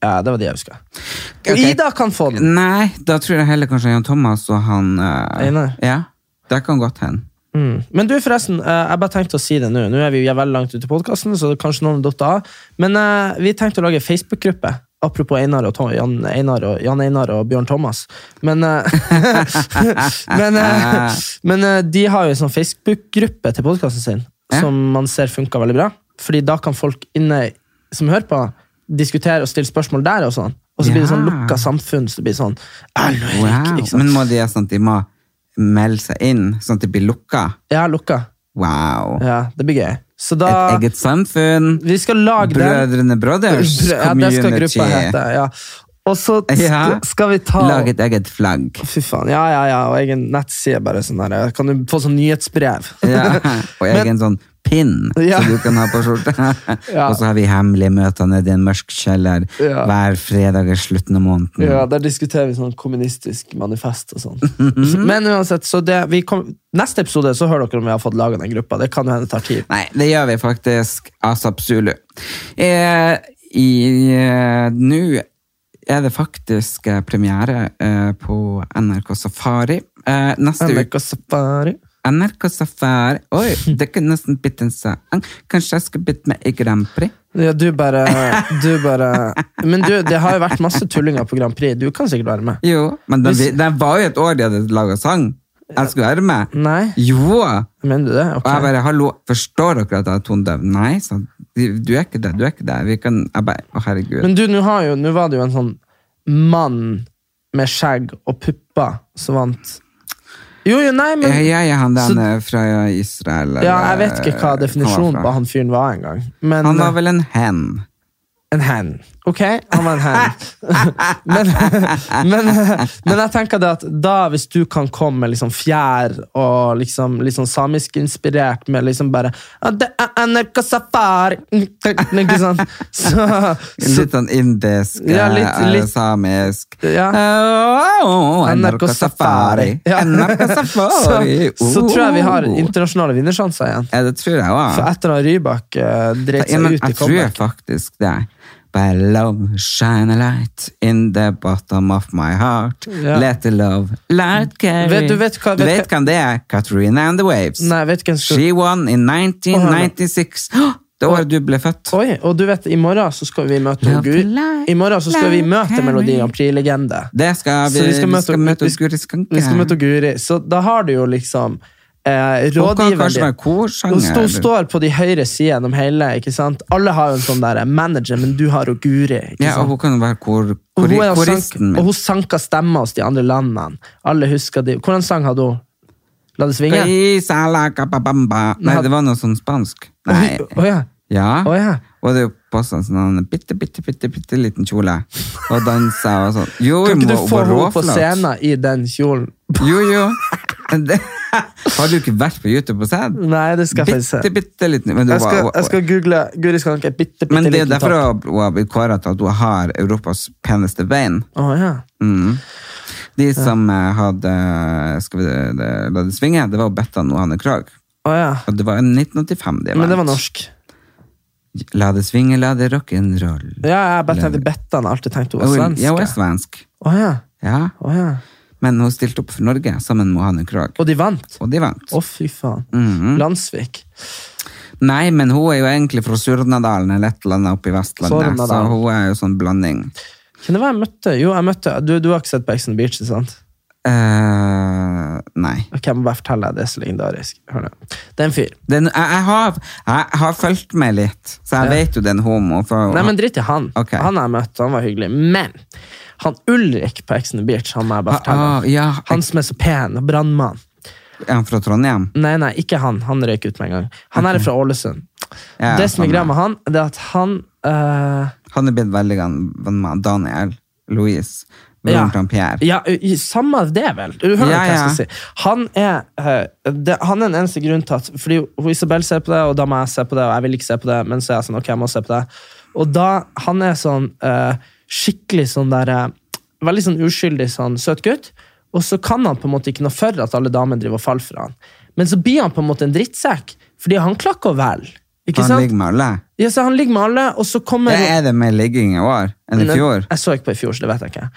Speaker 2: Ja, det var de jeg huska. Og
Speaker 1: Ok.
Speaker 2: Ida kan få den!
Speaker 1: Nei, da tror jeg heller kanskje Jan Thomas og han eh,
Speaker 2: Einar.
Speaker 1: Ja, det kan godt hende.
Speaker 2: Mm. Men du, forresten, eh, jeg bare tenkte å si det nå. Nå er vi jo veldig langt ute i podkasten, så kanskje noen dotter av. Men eh, vi tenkte å lage ei Facebook-gruppe. Apropos Einar og, Tom, Jan, Einar og Jan Einar og Bjørn Thomas. Men eh, men, eh, men eh, de har jo en sånn Facebook-gruppe til podkasten sin
Speaker 1: Ja.
Speaker 2: som man ser funka veldig bra. Fordi da kan folk inne som hører på, diskutere og stille spørsmål der. Og sånn Og så blir det sånn
Speaker 1: Ja.
Speaker 2: lukka samfunn. Så det blir sånn «Hallo, Erik»,
Speaker 1: Wow.
Speaker 2: ikke sant?
Speaker 1: Men må de gjøre sånn at de må melde seg inn, sånn at de blir lukka?
Speaker 2: Ja, lukka.
Speaker 1: Wow.
Speaker 2: Ja, det blir gøy. Så da
Speaker 1: Et eget samfunn.
Speaker 2: Vi skal lage den.
Speaker 1: Brødrene Brothers
Speaker 2: Ja, det skal gruppa hete. Ja. Og så sk-
Speaker 1: Ja.
Speaker 2: skal vi ta
Speaker 1: Lag et eget flagg.
Speaker 2: Fy faen. Ja, ja, ja. Og egen nettside. bare sånn der. Kan du få sånn nyhetsbrev?
Speaker 1: Ja. Og
Speaker 2: Men-
Speaker 1: egen sånn pin
Speaker 2: Ja.
Speaker 1: som du kan ha på skjorta.
Speaker 2: Ja.
Speaker 1: Og så har vi hemmelige møter nede i en mørk kjeller
Speaker 2: Ja.
Speaker 1: hver fredag i slutten av måneden.
Speaker 2: Ja, Der diskuterer vi sånn kommunistisk manifest og sånn.
Speaker 1: Mhm.
Speaker 2: Men uansett, så det, vi kom, neste episode så hører dere om vi har fått laga den gruppa. Det kan jo hende tar tid.
Speaker 1: Nei, det gjør vi faktisk asap zulu. Eh, i, eh, Nå er det faktisk eh, premiere eh, på NRK Safari. Eh, neste uke
Speaker 2: NRK Safari.
Speaker 1: NRK Safari. Oi, det kunne nesten blitt en sang. Kanskje jeg skal bytte med i Grand Prix?
Speaker 2: Ja, du bare, du bare Men du, det har jo vært masse tullinger på Grand Prix. Du kan sikkert være med.
Speaker 1: Jo, men det,
Speaker 2: Hvis-
Speaker 1: det var jo et år de hadde laga sang. Jeg skulle være med.
Speaker 2: Nei.
Speaker 1: Jo! Og
Speaker 2: Mener du det? Ok.
Speaker 1: jeg bare 'hallo, forstår dere at jeg er tondøv?' Nei, sa han. du du er ikke det. Du er ikke det. Vi kan Jeg bare Å, herregud.
Speaker 2: Men du, nå har jo- nå var det jo en sånn mann med skjegg og pupper som vant. Jo, jo, nei, men
Speaker 1: ja, ja, ja, han
Speaker 2: Så-
Speaker 1: den Eh, er fra Israel eller,
Speaker 2: Ja, jeg vet ikke hva
Speaker 1: han
Speaker 2: definisjonen på
Speaker 1: var Eh, fra.
Speaker 2: han fyren var engang. Men eh,
Speaker 1: Han var vel en hen.
Speaker 2: en hen. Ok, han var en hen. men, men, men jeg tenker det at da, hvis du kan komme med liksom fjær og liksom, litt sånn samisk inspirert med liksom bare «Ah, Det er NRK Safari! Ikke sant? Så, så
Speaker 1: Litt sånn indisk,
Speaker 2: Ja, litt-
Speaker 1: eh,
Speaker 2: litt-
Speaker 1: samisk.
Speaker 2: Ja.
Speaker 1: Oh, NRK Safari!
Speaker 2: Ja.
Speaker 1: NRK Safari!
Speaker 2: Så, så tror jeg vi har
Speaker 1: Oh.
Speaker 2: internasjonale vinnersjanser igjen.
Speaker 1: Ja, det tror jeg òg.
Speaker 2: For etter at Rybak eh, dreit
Speaker 1: Ja,
Speaker 2: seg
Speaker 1: men
Speaker 2: ut i
Speaker 1: jeg tror
Speaker 2: comeback
Speaker 1: faktisk det. By love shine a light in the bottom of my heart.
Speaker 2: Ja.
Speaker 1: Let the love light carry.
Speaker 2: Vet du- vet hva-
Speaker 1: Du
Speaker 2: vet
Speaker 1: vet hvem det er? Katrina and the Waves.
Speaker 2: Nei, vet du hvem som-
Speaker 1: She won in 1996. Åh, Det året du ble født.
Speaker 2: Oi, og du vet, i morgen så skal vi møte
Speaker 1: Love
Speaker 2: Guri.
Speaker 1: to life,
Speaker 2: I morgen så skal vi
Speaker 1: love
Speaker 2: møte
Speaker 1: Harry.
Speaker 2: Melodi Grand Prix-legende.
Speaker 1: Det skal vi,
Speaker 2: Så vi skal møte- vi-
Speaker 1: vi skal møte Guri Skanke.
Speaker 2: Vi skal møte Guri. Så da har du jo liksom eh,
Speaker 1: Hun kan
Speaker 2: rådgiveren
Speaker 1: kanskje
Speaker 2: din.
Speaker 1: være korsanger,
Speaker 2: Hun sto-
Speaker 1: eller?
Speaker 2: står på de høyre sidene gjennom hele. ikke sant? Alle har jo en sånn der manager, men du har jo Guri. ikke
Speaker 1: Ja, og
Speaker 2: sant?
Speaker 1: hun kan være kor,
Speaker 2: Og
Speaker 1: kor,
Speaker 2: hun, er jo sank,
Speaker 1: koristen
Speaker 2: og
Speaker 1: min.
Speaker 2: hun sanka stemmer hos de andre landene. Alle husker de. Hvordan sang hadde hun? La det svinge?
Speaker 1: Isa la capabamba. Nei, det var noe sånn spansk. Nei.
Speaker 2: Å ja.
Speaker 1: Ja.
Speaker 2: Å, ja.
Speaker 1: Og det er jo på sånn sånn en bitte, bitte, bitte, bitte liten kjole. Og dansa og sånn. Jo,
Speaker 2: Kan ikke
Speaker 1: hun
Speaker 2: du
Speaker 1: var-
Speaker 2: få
Speaker 1: var
Speaker 2: henne på
Speaker 1: råflott.
Speaker 2: scenen i den kjolen?
Speaker 1: Jo, jo. Det, har du ikke vært på YouTube og sett?
Speaker 2: Nei, det skal jeg
Speaker 1: Bitte,
Speaker 2: faktisk se.
Speaker 1: bitte liten. Men, det
Speaker 2: Jeg skal,
Speaker 1: var-
Speaker 2: jeg skal google Guri Skanke. Bitte, bitte
Speaker 1: men det er
Speaker 2: liten
Speaker 1: derfor
Speaker 2: topp.
Speaker 1: hun har blitt kåret til at hun har Europas peneste bein.
Speaker 2: Å, ja.
Speaker 1: Mm. De som eh, hadde Skal vi det, la det svinge, det var Bettan og Hanne Krogh.
Speaker 2: Å, ja.
Speaker 1: Og det var i 1985 de
Speaker 2: Men
Speaker 1: vant.
Speaker 2: det var norsk.
Speaker 1: La det svinge, la det rock'n'roll.
Speaker 2: Ja, jeg bare tenkte Bettan. Jeg har alltid tenkt hun var
Speaker 1: Hun-
Speaker 2: svensk.
Speaker 1: Ja, hun er svensk.
Speaker 2: Å, ja.
Speaker 1: Ja.
Speaker 2: Å, ja.
Speaker 1: Men hun stilte opp for Norge sammen med Hanne Krogh,
Speaker 2: Og de vant. Å,
Speaker 1: og de vant. Mhm.
Speaker 2: fy faen. Landsvik.
Speaker 1: Nei, men hun er jo egentlig fra Surnadalen eller et eller annet oppe i Vestlandet, så
Speaker 2: Surnadalen.
Speaker 1: hun er jo sånn blanding.
Speaker 2: Hvem det var jeg møtte? Jo, jeg møtte Du, du har ikke sett på Ex on the Beach, ikke sant?
Speaker 1: Eh, nei.
Speaker 2: Ok, jeg må bare fortelle deg det er så legendarisk. Hør nå. Det er en fyr.
Speaker 1: Den, jeg, jeg, har, jeg har fulgt med litt, så jeg vet jo det er en homo. For,
Speaker 2: Nei, men dritt i han.
Speaker 1: Ok.
Speaker 2: Han har jeg møtt, han var hyggelig. Men han Ulrik på Ex on the Beach, han må jeg bare fortelle.
Speaker 1: Ah, ah, ja.
Speaker 2: Han som er så pen, og brannmann.
Speaker 1: Er han fra Trondheim?
Speaker 2: Nei, nei, ikke han. Han røyk ut med en gang. Han er fra Ålesund.
Speaker 1: Ja,
Speaker 2: det som
Speaker 1: sånn,
Speaker 2: er
Speaker 1: ja.
Speaker 2: greia med han, det er at han eh,
Speaker 1: Han er blitt veldig gan- venn med Daniel, Louise, broren til Pierre.
Speaker 2: Ja, i- i- samme av det, vel. Du hører
Speaker 1: Ja,
Speaker 2: hva jeg
Speaker 1: ja.
Speaker 2: skal si. Han er, eh, det, han er den eneste grunnen til at Fordi hun Isabel ser på det, og da må jeg se på det, og jeg vil ikke se på det, men så er jeg sånn, ok, jeg må se på det. Og da, han er sånn eh, skikkelig sånn der eh, Veldig sånn uskyldig sånn søt gutt, og så kan han på en måte ikke noe for at alle damene driver og faller for han. Men så blir han på en måte en drittsekk, fordi han klakker vel. Ikke
Speaker 1: han
Speaker 2: sant?
Speaker 1: ligger med alle.
Speaker 2: Ja, så han ligger med alle, og så kommer
Speaker 1: Det er det mer ligging i år enn i
Speaker 2: Nei,
Speaker 1: fjor. Mm.
Speaker 2: Jeg så ikke på i fjor, så det vet jeg ikke.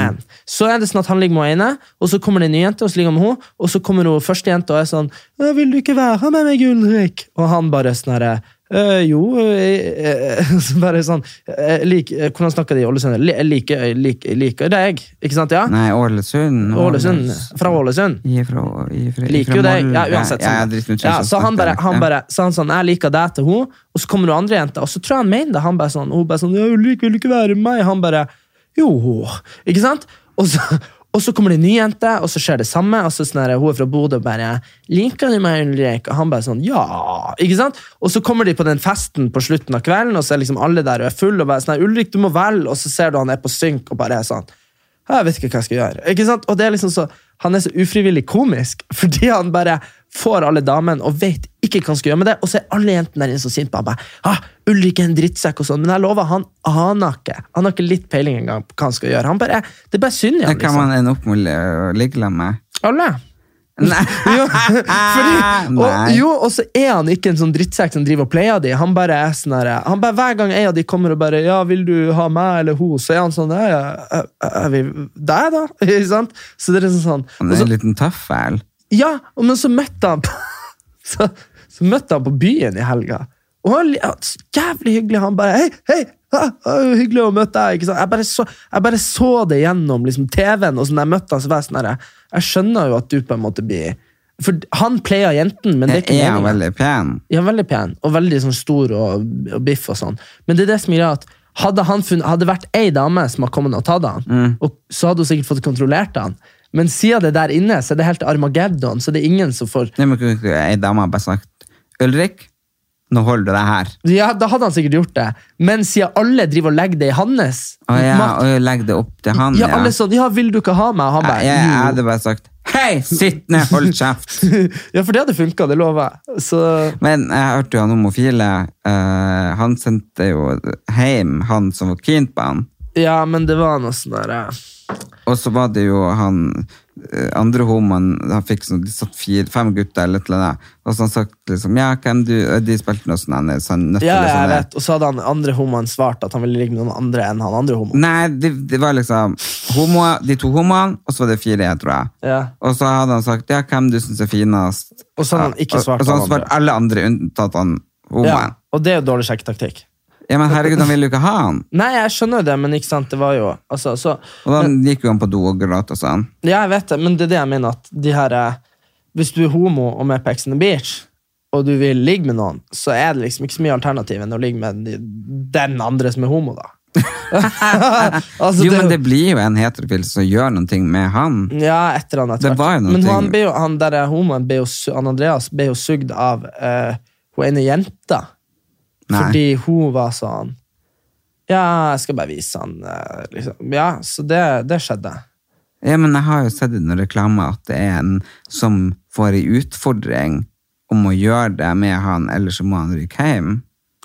Speaker 2: Men så er det sånn at han ligger med henne, og så kommer det en ny jente, og så ligger han med henne, og så kommer hun første jente og er sånn «Å, 'Vil du ikke være med meg, Ulrik?' Og han bare sånn herre «Øh, jo øh, øh», så bare sånn «Øh, lik, øh, Hvordan snakker de i Ålesund? Li- Liker like, øh, like deg, ikke sant? Ja?
Speaker 1: Nei, Ålesund.
Speaker 2: Ålesund. Fra Ålesund.
Speaker 1: Ifra, ifra,
Speaker 2: Liker jo
Speaker 1: ifra
Speaker 2: deg. Ja,
Speaker 1: Molde.
Speaker 2: uansett.
Speaker 1: Ja, jeg
Speaker 2: Sånn.
Speaker 1: driter
Speaker 2: det.
Speaker 1: meg ut,
Speaker 2: Ja,
Speaker 1: jeg
Speaker 2: så han
Speaker 1: snakker
Speaker 2: bare,
Speaker 1: dialekt,
Speaker 2: han
Speaker 1: ja.
Speaker 2: bare sa han sånn, jeg liker deg til henne, og så kommer det andre jenter, og så tror jeg han mener det. Han bare sånn, hun bare sånn, «Ja, Ulrik, vil du ikke være med meg? Han bare, jo, ikke sant? Og så, og så kommer det en ny jente, og så skjer det samme, og så sånn her, hun er fra Bodø og bare, liker du meg, Ulrik? Og han bare sånn, ja, ikke sant? Og så kommer de på den festen på slutten av kvelden, og så er liksom alle der og er full, og bare sånn, her, Ulrik, du må vel, og så ser du han er på synk, og bare er sånn, «Ja, jeg vet ikke hva jeg skal gjøre. Ikke sant? Og det er liksom så, han er så ufrivillig komisk, fordi han bare får alle damene og vet ikke hva han skal gjøre med det, og så er alle jentene der inne så sinte på han bare, ah, Ulrik er en drittsekk og sånn, men jeg lover, han aner ikke. Han har ikke litt peiling engang på hva han skal gjøre. Han bare, det er bare synd i
Speaker 1: Det
Speaker 2: han,
Speaker 1: kan
Speaker 2: liksom.
Speaker 1: man ende opp med å ligge sammen med.
Speaker 2: Alle.
Speaker 1: Nei.
Speaker 2: Jo, fordi, og,
Speaker 1: Nei.
Speaker 2: jo, og så er han ikke en sånn drittsekk som driver og player de. Han bare er sånn her, han bare, Hver gang en av de kommer og bare 'Ja, vil du ha meg eller hun?' så er han sånn «Ja, ja, jeg vil deg, da?' Ikke sant? Så det er sånn
Speaker 1: Han
Speaker 2: og
Speaker 1: er
Speaker 2: så,
Speaker 1: en liten tøffel.
Speaker 2: Ja, og- men så møtte han på, så, så møtte han på byen i helga. Og han, ja, så jævlig hyggelig. Han bare Hei, hei! ah, ah, hyggelig å møte deg. Ikke sant? Jeg, bare så, jeg bare så det gjennom liksom, TV-en, og så når jeg møtte han, så var jeg sånn her Jeg skjønner jo at du på en måte blir For han player jenten, men det er ikke
Speaker 1: Er han
Speaker 2: meningen.
Speaker 1: veldig pen?
Speaker 2: Ja, veldig pen, og veldig sånn stor og, og biff og sånn. Men det er det som gjør at hadde han funnet, hadde det vært ei dame som hadde kommet og tatt han,
Speaker 1: Mm.
Speaker 2: og, så hadde hun sikkert fått kontrollert han. Men siden det er der inne, så er det helt Armageddon, så det er ingen som får
Speaker 1: Nei, men kunne ikke Ei dame har bare sagt Ulrik, nå holder du deg her.
Speaker 2: Ja, da hadde han sikkert gjort det, men siden alle driver og legger det i hans
Speaker 1: Å ja,
Speaker 2: makt-
Speaker 1: og legg det opp til han,
Speaker 2: ja, alle sånn, ja, vil du ikke ha meg? Og Han
Speaker 1: Jeg,
Speaker 2: bare,
Speaker 1: jeg
Speaker 2: «Jo».
Speaker 1: hadde bare sagt Hei, sitt ned, hold kjeft!
Speaker 2: ja, for det hadde funket, det lover jeg. Så,
Speaker 1: Men jeg hørte jo han homofile. eh, han sendte jo hjem han som var keen på han.
Speaker 2: ja, men det var noe sånn der, eh,
Speaker 1: Og så var det jo han eh, andre homoen han fikk sånn, De satt fire, fem gutter eller et eller annet. Og så han sagt liksom Ja, hvem du Og De spilte noe sånn han er sånn nøtt
Speaker 2: ja,
Speaker 1: eller
Speaker 2: jeg
Speaker 1: sånn.
Speaker 2: vet, og så hadde han andre homoen svart at han ville ligge med noen andre enn han andre homoen.
Speaker 1: Nei, det, det var liksom homo, de to homoene, og så var det fire heteroer.
Speaker 2: Ja.
Speaker 1: Og så hadde han sagt ja, hvem du syns er finest.
Speaker 2: Og så hadde han ikke
Speaker 1: Ja, og-
Speaker 2: svart
Speaker 1: og så hadde han
Speaker 2: alle
Speaker 1: svart alle andre unntatt han
Speaker 2: Ja,
Speaker 1: homoen.
Speaker 2: og det er jo dårlig sjekketaktikk.
Speaker 1: Ja. men herregud, han ville jo ikke ha han.
Speaker 2: Nei, jeg skjønner jo det, men ikke sant, det var jo altså, så,
Speaker 1: Og da gikk jo han på do og gråt og sånn.
Speaker 2: Ja, jeg vet det, men det er det jeg mener at de her eh, Hvis du er homo og med på Ex on the Beach, og du vil ligge med noen, så er det liksom ikke så mye alternativ enn å ligge med de- den andre som er homo, da. Altså,
Speaker 1: jo,
Speaker 2: det er
Speaker 1: men det blir jo en heterofil som gjør noe med han.
Speaker 2: Ja, et eller annet.
Speaker 1: Det var jo noe
Speaker 2: Men
Speaker 1: ting-
Speaker 2: han, ble jo, han der er homoen, ble jo, su- han Andreas, ble jo sugd av eh, hun ene jenta.
Speaker 1: Nei.
Speaker 2: Fordi hun var sånn Ja, jeg skal bare vise han eh, liksom. Ja, så det, det skjedde.
Speaker 1: Ja, men jeg har jo sett i noen reklamer at det er en som får ei utfordring om å gjøre det med han, eller så må han rykke hjem.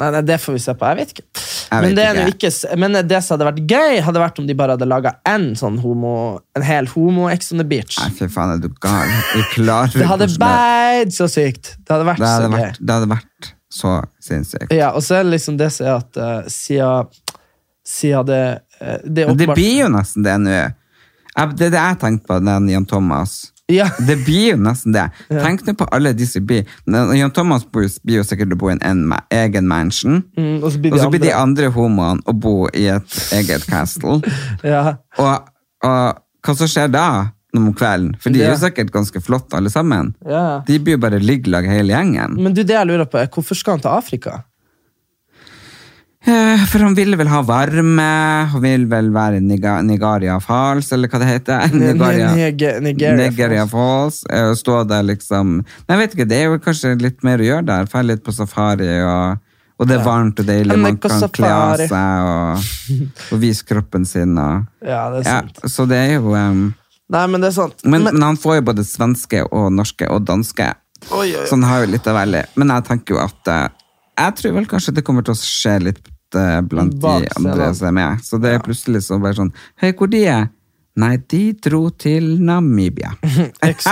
Speaker 2: Nei, nei, det får vi se på. Jeg vet ikke.
Speaker 1: Jeg
Speaker 2: men,
Speaker 1: vet
Speaker 2: det er
Speaker 1: ikke.
Speaker 2: nå ikke. s- men det som hadde vært gøy, hadde vært om de bare hadde laga en sånn homo En hel homo-Ex on the beach.
Speaker 1: Nei, fy faen, er du gal? Du klarer
Speaker 2: det hadde
Speaker 1: hvordan
Speaker 2: vært så sykt. Det hadde vært
Speaker 1: Det hadde
Speaker 2: så gøy.
Speaker 1: vært, det hadde vært så sinnssykt.
Speaker 2: Ja, og så er det liksom det som er at eh, siden, siden det eh, Det er
Speaker 1: Men det
Speaker 2: åpenbart
Speaker 1: blir jo nesten det nå. Jeg- Det er det jeg tenkte på, den Jan Thomas.
Speaker 2: ja,
Speaker 1: Det blir jo nesten det. Tenk nå på alle de som blir Når eh, Jan Thomas bor, blir jo sikkert å bo i en en ma- egen mansion.
Speaker 2: mm, Og så blir
Speaker 1: Og
Speaker 2: de
Speaker 1: så blir de
Speaker 2: andre
Speaker 1: andre homoene å bo i et eget castle.
Speaker 2: ja.
Speaker 1: Og, og hva som skjer da om kvelden? For de er jo
Speaker 2: Det-
Speaker 1: sikkert ganske flotte, alle sammen.
Speaker 2: Ja.
Speaker 1: De blir jo bare ligglag, hele gjengen.
Speaker 2: Men du, det jeg lurer på, er hvorfor skal han til Afrika?
Speaker 1: Eh, For han ville vel ha varme, han vil vel være i Niga- Nigaria Falls, eller hva det heter.
Speaker 2: Nigeria, Nigeria,
Speaker 1: Nigeria Falls. eh, Og stå der liksom Nei, jeg vet ikke, det er jo kanskje litt mer å gjøre der. Dra litt på safari, og, og det er varmt og deilig,
Speaker 2: Men
Speaker 1: man
Speaker 2: på
Speaker 1: kan kle av
Speaker 2: safari.
Speaker 1: seg og, og vise kroppen sin. Og,
Speaker 2: Ja, det er
Speaker 1: ja,
Speaker 2: sant.
Speaker 1: så det er jo em,
Speaker 2: Nei, men det er sant.
Speaker 1: men, men han får jo både svenske og norske og danske. Så han har jo litt av veldig. Men jeg tenker jo at eh, Jeg tror vel kanskje det kommer til å skje litt eh, blant
Speaker 2: Bak
Speaker 1: de andre
Speaker 2: scenen.
Speaker 1: som er med. Så det er plutselig så bare sånn Hei, hvor de er? Nei, de dro til Namibia.
Speaker 2: Ex,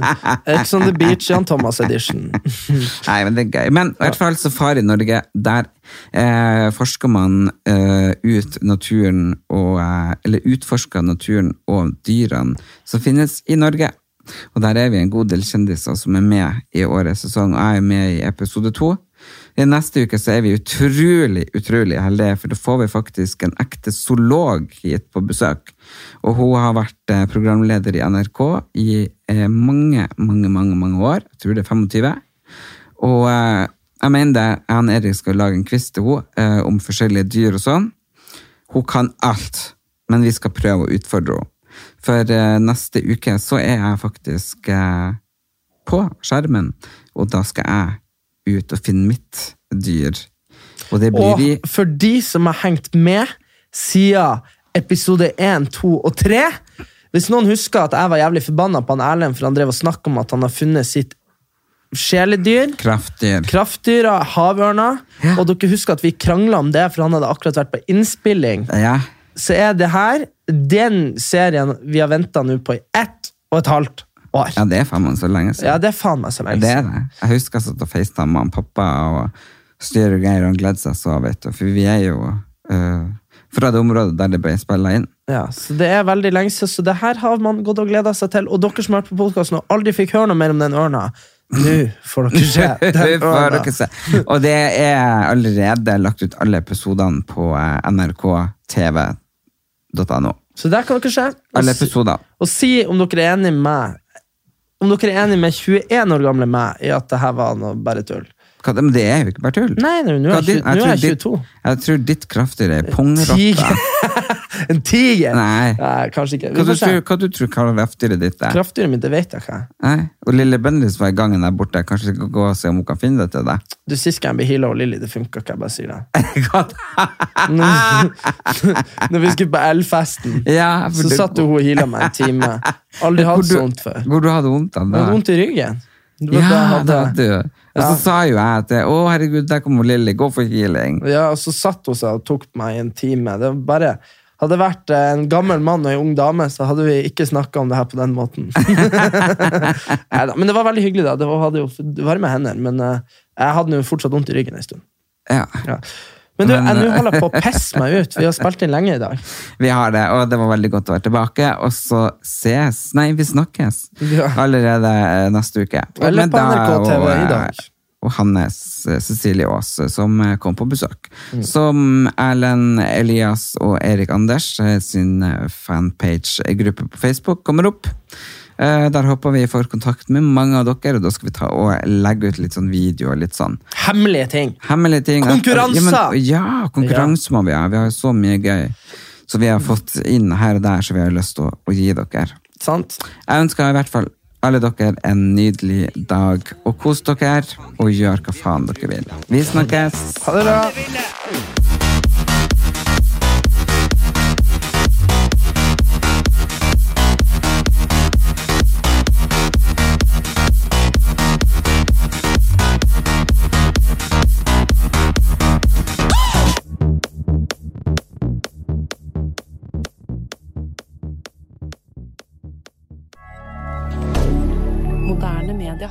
Speaker 2: Ex on sånn the beach, Jan Thomas edition.
Speaker 1: Nei, men det er gøy. Men i hvert fall Safari Norge, der eh, forsker man eh, ut naturen og eh, Eller utforsker naturen og dyrene som finnes i Norge. Og der er vi en god del kjendiser som er med i årets sesong, og jeg er med i episode to. I neste uke så er vi utrolig, utrolig heldige, for da får vi faktisk en ekte zoolog hit på besøk. Og hun har vært eh, programleder i NRK i eh, mange, mange, mange, mange år. Jeg tror det er 25. Og eh, jeg mener det, han Erik skal lage en quiz til henne eh, om forskjellige dyr og sånn. Hun kan alt, men vi skal prøve å utfordre henne. For eh, neste uke så er jeg faktisk eh, på skjermen, og da skal jeg ut og finne mitt dyr. Og det blir
Speaker 2: Og
Speaker 1: vi
Speaker 2: for de som har hengt med siden episode 1, 2 og 3 Hvis noen husker at jeg var jævlig forbanna på han Erlend for han drev og snakket om at han har funnet sitt sjeledyr,
Speaker 1: Kraftdyr.
Speaker 2: kraftdyra, havørna, og dere husker at vi krangla om det, for han hadde akkurat vært på innspilling,
Speaker 1: Ja.
Speaker 2: så er det her den serien vi har venta nå på i ett og et halvt år.
Speaker 1: ja, det er faen meg så lenge siden.
Speaker 2: Ja, det er faen meg så lenge
Speaker 1: Det er det. Jeg husker jeg satt og facetime med pappa og styr og greier og gledde seg så, vet du. For vi er jo eh, fra det området der det ble spillet inn.
Speaker 2: Ja, så Det er veldig lenge siden, så det her har man gått og gleda seg til. Og dere som har vært på podkasten og aldri fikk høre noe mer om den ørna, nå får dere se
Speaker 1: Vi
Speaker 2: den
Speaker 1: får
Speaker 2: ørna.
Speaker 1: dere se. Og det er allerede lagt ut alle episodene på eh, nrktv.no.
Speaker 2: Så der kan dere se. Og,
Speaker 1: Alle
Speaker 2: si-
Speaker 1: episodene.
Speaker 2: og si om dere er enig med meg Om dere er enig med 21 år gamle meg i at det her var noe bare tull.
Speaker 1: Hva- Men det er jo ikke bare tull.
Speaker 2: Nei, nå, nå
Speaker 1: Hva
Speaker 2: er jeg,
Speaker 1: din-
Speaker 2: tjue- nå er
Speaker 1: tror
Speaker 2: jeg Eh,
Speaker 1: ditt-
Speaker 2: 22.
Speaker 1: Jeg tror ditt kraftigere er pungrotta.
Speaker 2: Tiger. en tiger!
Speaker 1: Nei.
Speaker 2: kanskje ikke.
Speaker 1: Hva
Speaker 2: Vi
Speaker 1: du
Speaker 2: får se.
Speaker 1: tror, hva du tror kraftigere ditt er?
Speaker 2: Kraftdyret mitt, det vet jeg ikke.
Speaker 1: Nei. Og Lille Bendriss var i gangen der borte. Kanskje jeg skal gå og se om hun kan finne det til deg?
Speaker 2: Du, Sist gang jeg ble heala og Lilly, det funka ikke. jeg bare sier det.
Speaker 1: Hva
Speaker 2: Når vi skulle på Elfesten,
Speaker 1: Ja, for
Speaker 2: så
Speaker 1: du-
Speaker 2: satt jo hun og heala meg en time. Aldri
Speaker 1: Hvor
Speaker 2: hatt
Speaker 1: du-
Speaker 2: så vondt før.
Speaker 1: Hvor du hadde vondt av
Speaker 2: Jeg hadde
Speaker 1: det?
Speaker 2: vondt i ryggen. Det var da jeg
Speaker 1: Ja,
Speaker 2: hadde-
Speaker 1: det hadde du. Og så
Speaker 2: Ja.
Speaker 1: sa jo jeg at å herregud, der kommer Lilly, gå for healing.
Speaker 2: Ja, og så satt hun seg og tok meg i en time. Det var bare, hadde det vært eh, en gammel mann og en ung dame, så hadde vi ikke snakka om det her på den måten. Neida, men det var veldig hyggelig, da. Det var, hadde jo varme hender, men eh, jeg hadde jo fortsatt vondt i ryggen en stund.
Speaker 1: Ja,
Speaker 2: Ja. Men du, jeg-
Speaker 1: Men,
Speaker 2: nå
Speaker 1: eh,
Speaker 2: holder jeg på å pisse meg ut. Vi har spilt inn lenge i dag.
Speaker 1: vi har det, og det var veldig godt å være tilbake. Og så ses Nei, vi snakkes
Speaker 2: Ja.
Speaker 1: allerede eh, neste uke. Og
Speaker 2: Eller
Speaker 1: med
Speaker 2: på
Speaker 1: deg
Speaker 2: NRK TV
Speaker 1: og,
Speaker 2: i
Speaker 1: eh,
Speaker 2: dag.
Speaker 1: Og Hannes eh, Cecilie Aas, eh, som eh, kom på besøk.
Speaker 2: Mm.
Speaker 1: Som Erlend Elias og Erik Anders eh, sin eh, fanpage-gruppe på Facebook kommer opp. Eh, Der håper vi får kontakt med mange av dere, og da skal vi ta og legge ut litt sånn video. og litt sånn.
Speaker 2: Hemmelige ting.
Speaker 1: Hemmelige ting. Ja,
Speaker 2: Konkurranser!
Speaker 1: men, ja konkurranse må vi ha. Vi har jo så mye gøy. Så vi har fått inn her og der, så vi har lyst til å, å gi dere.
Speaker 2: Sant?
Speaker 1: Jeg ønsker i hvert fall alle dere en nydelig dag. Og kos dere, og gjør hva faen dere vil. Vi snakkes!
Speaker 2: Ha det bra.
Speaker 3: Moderne media.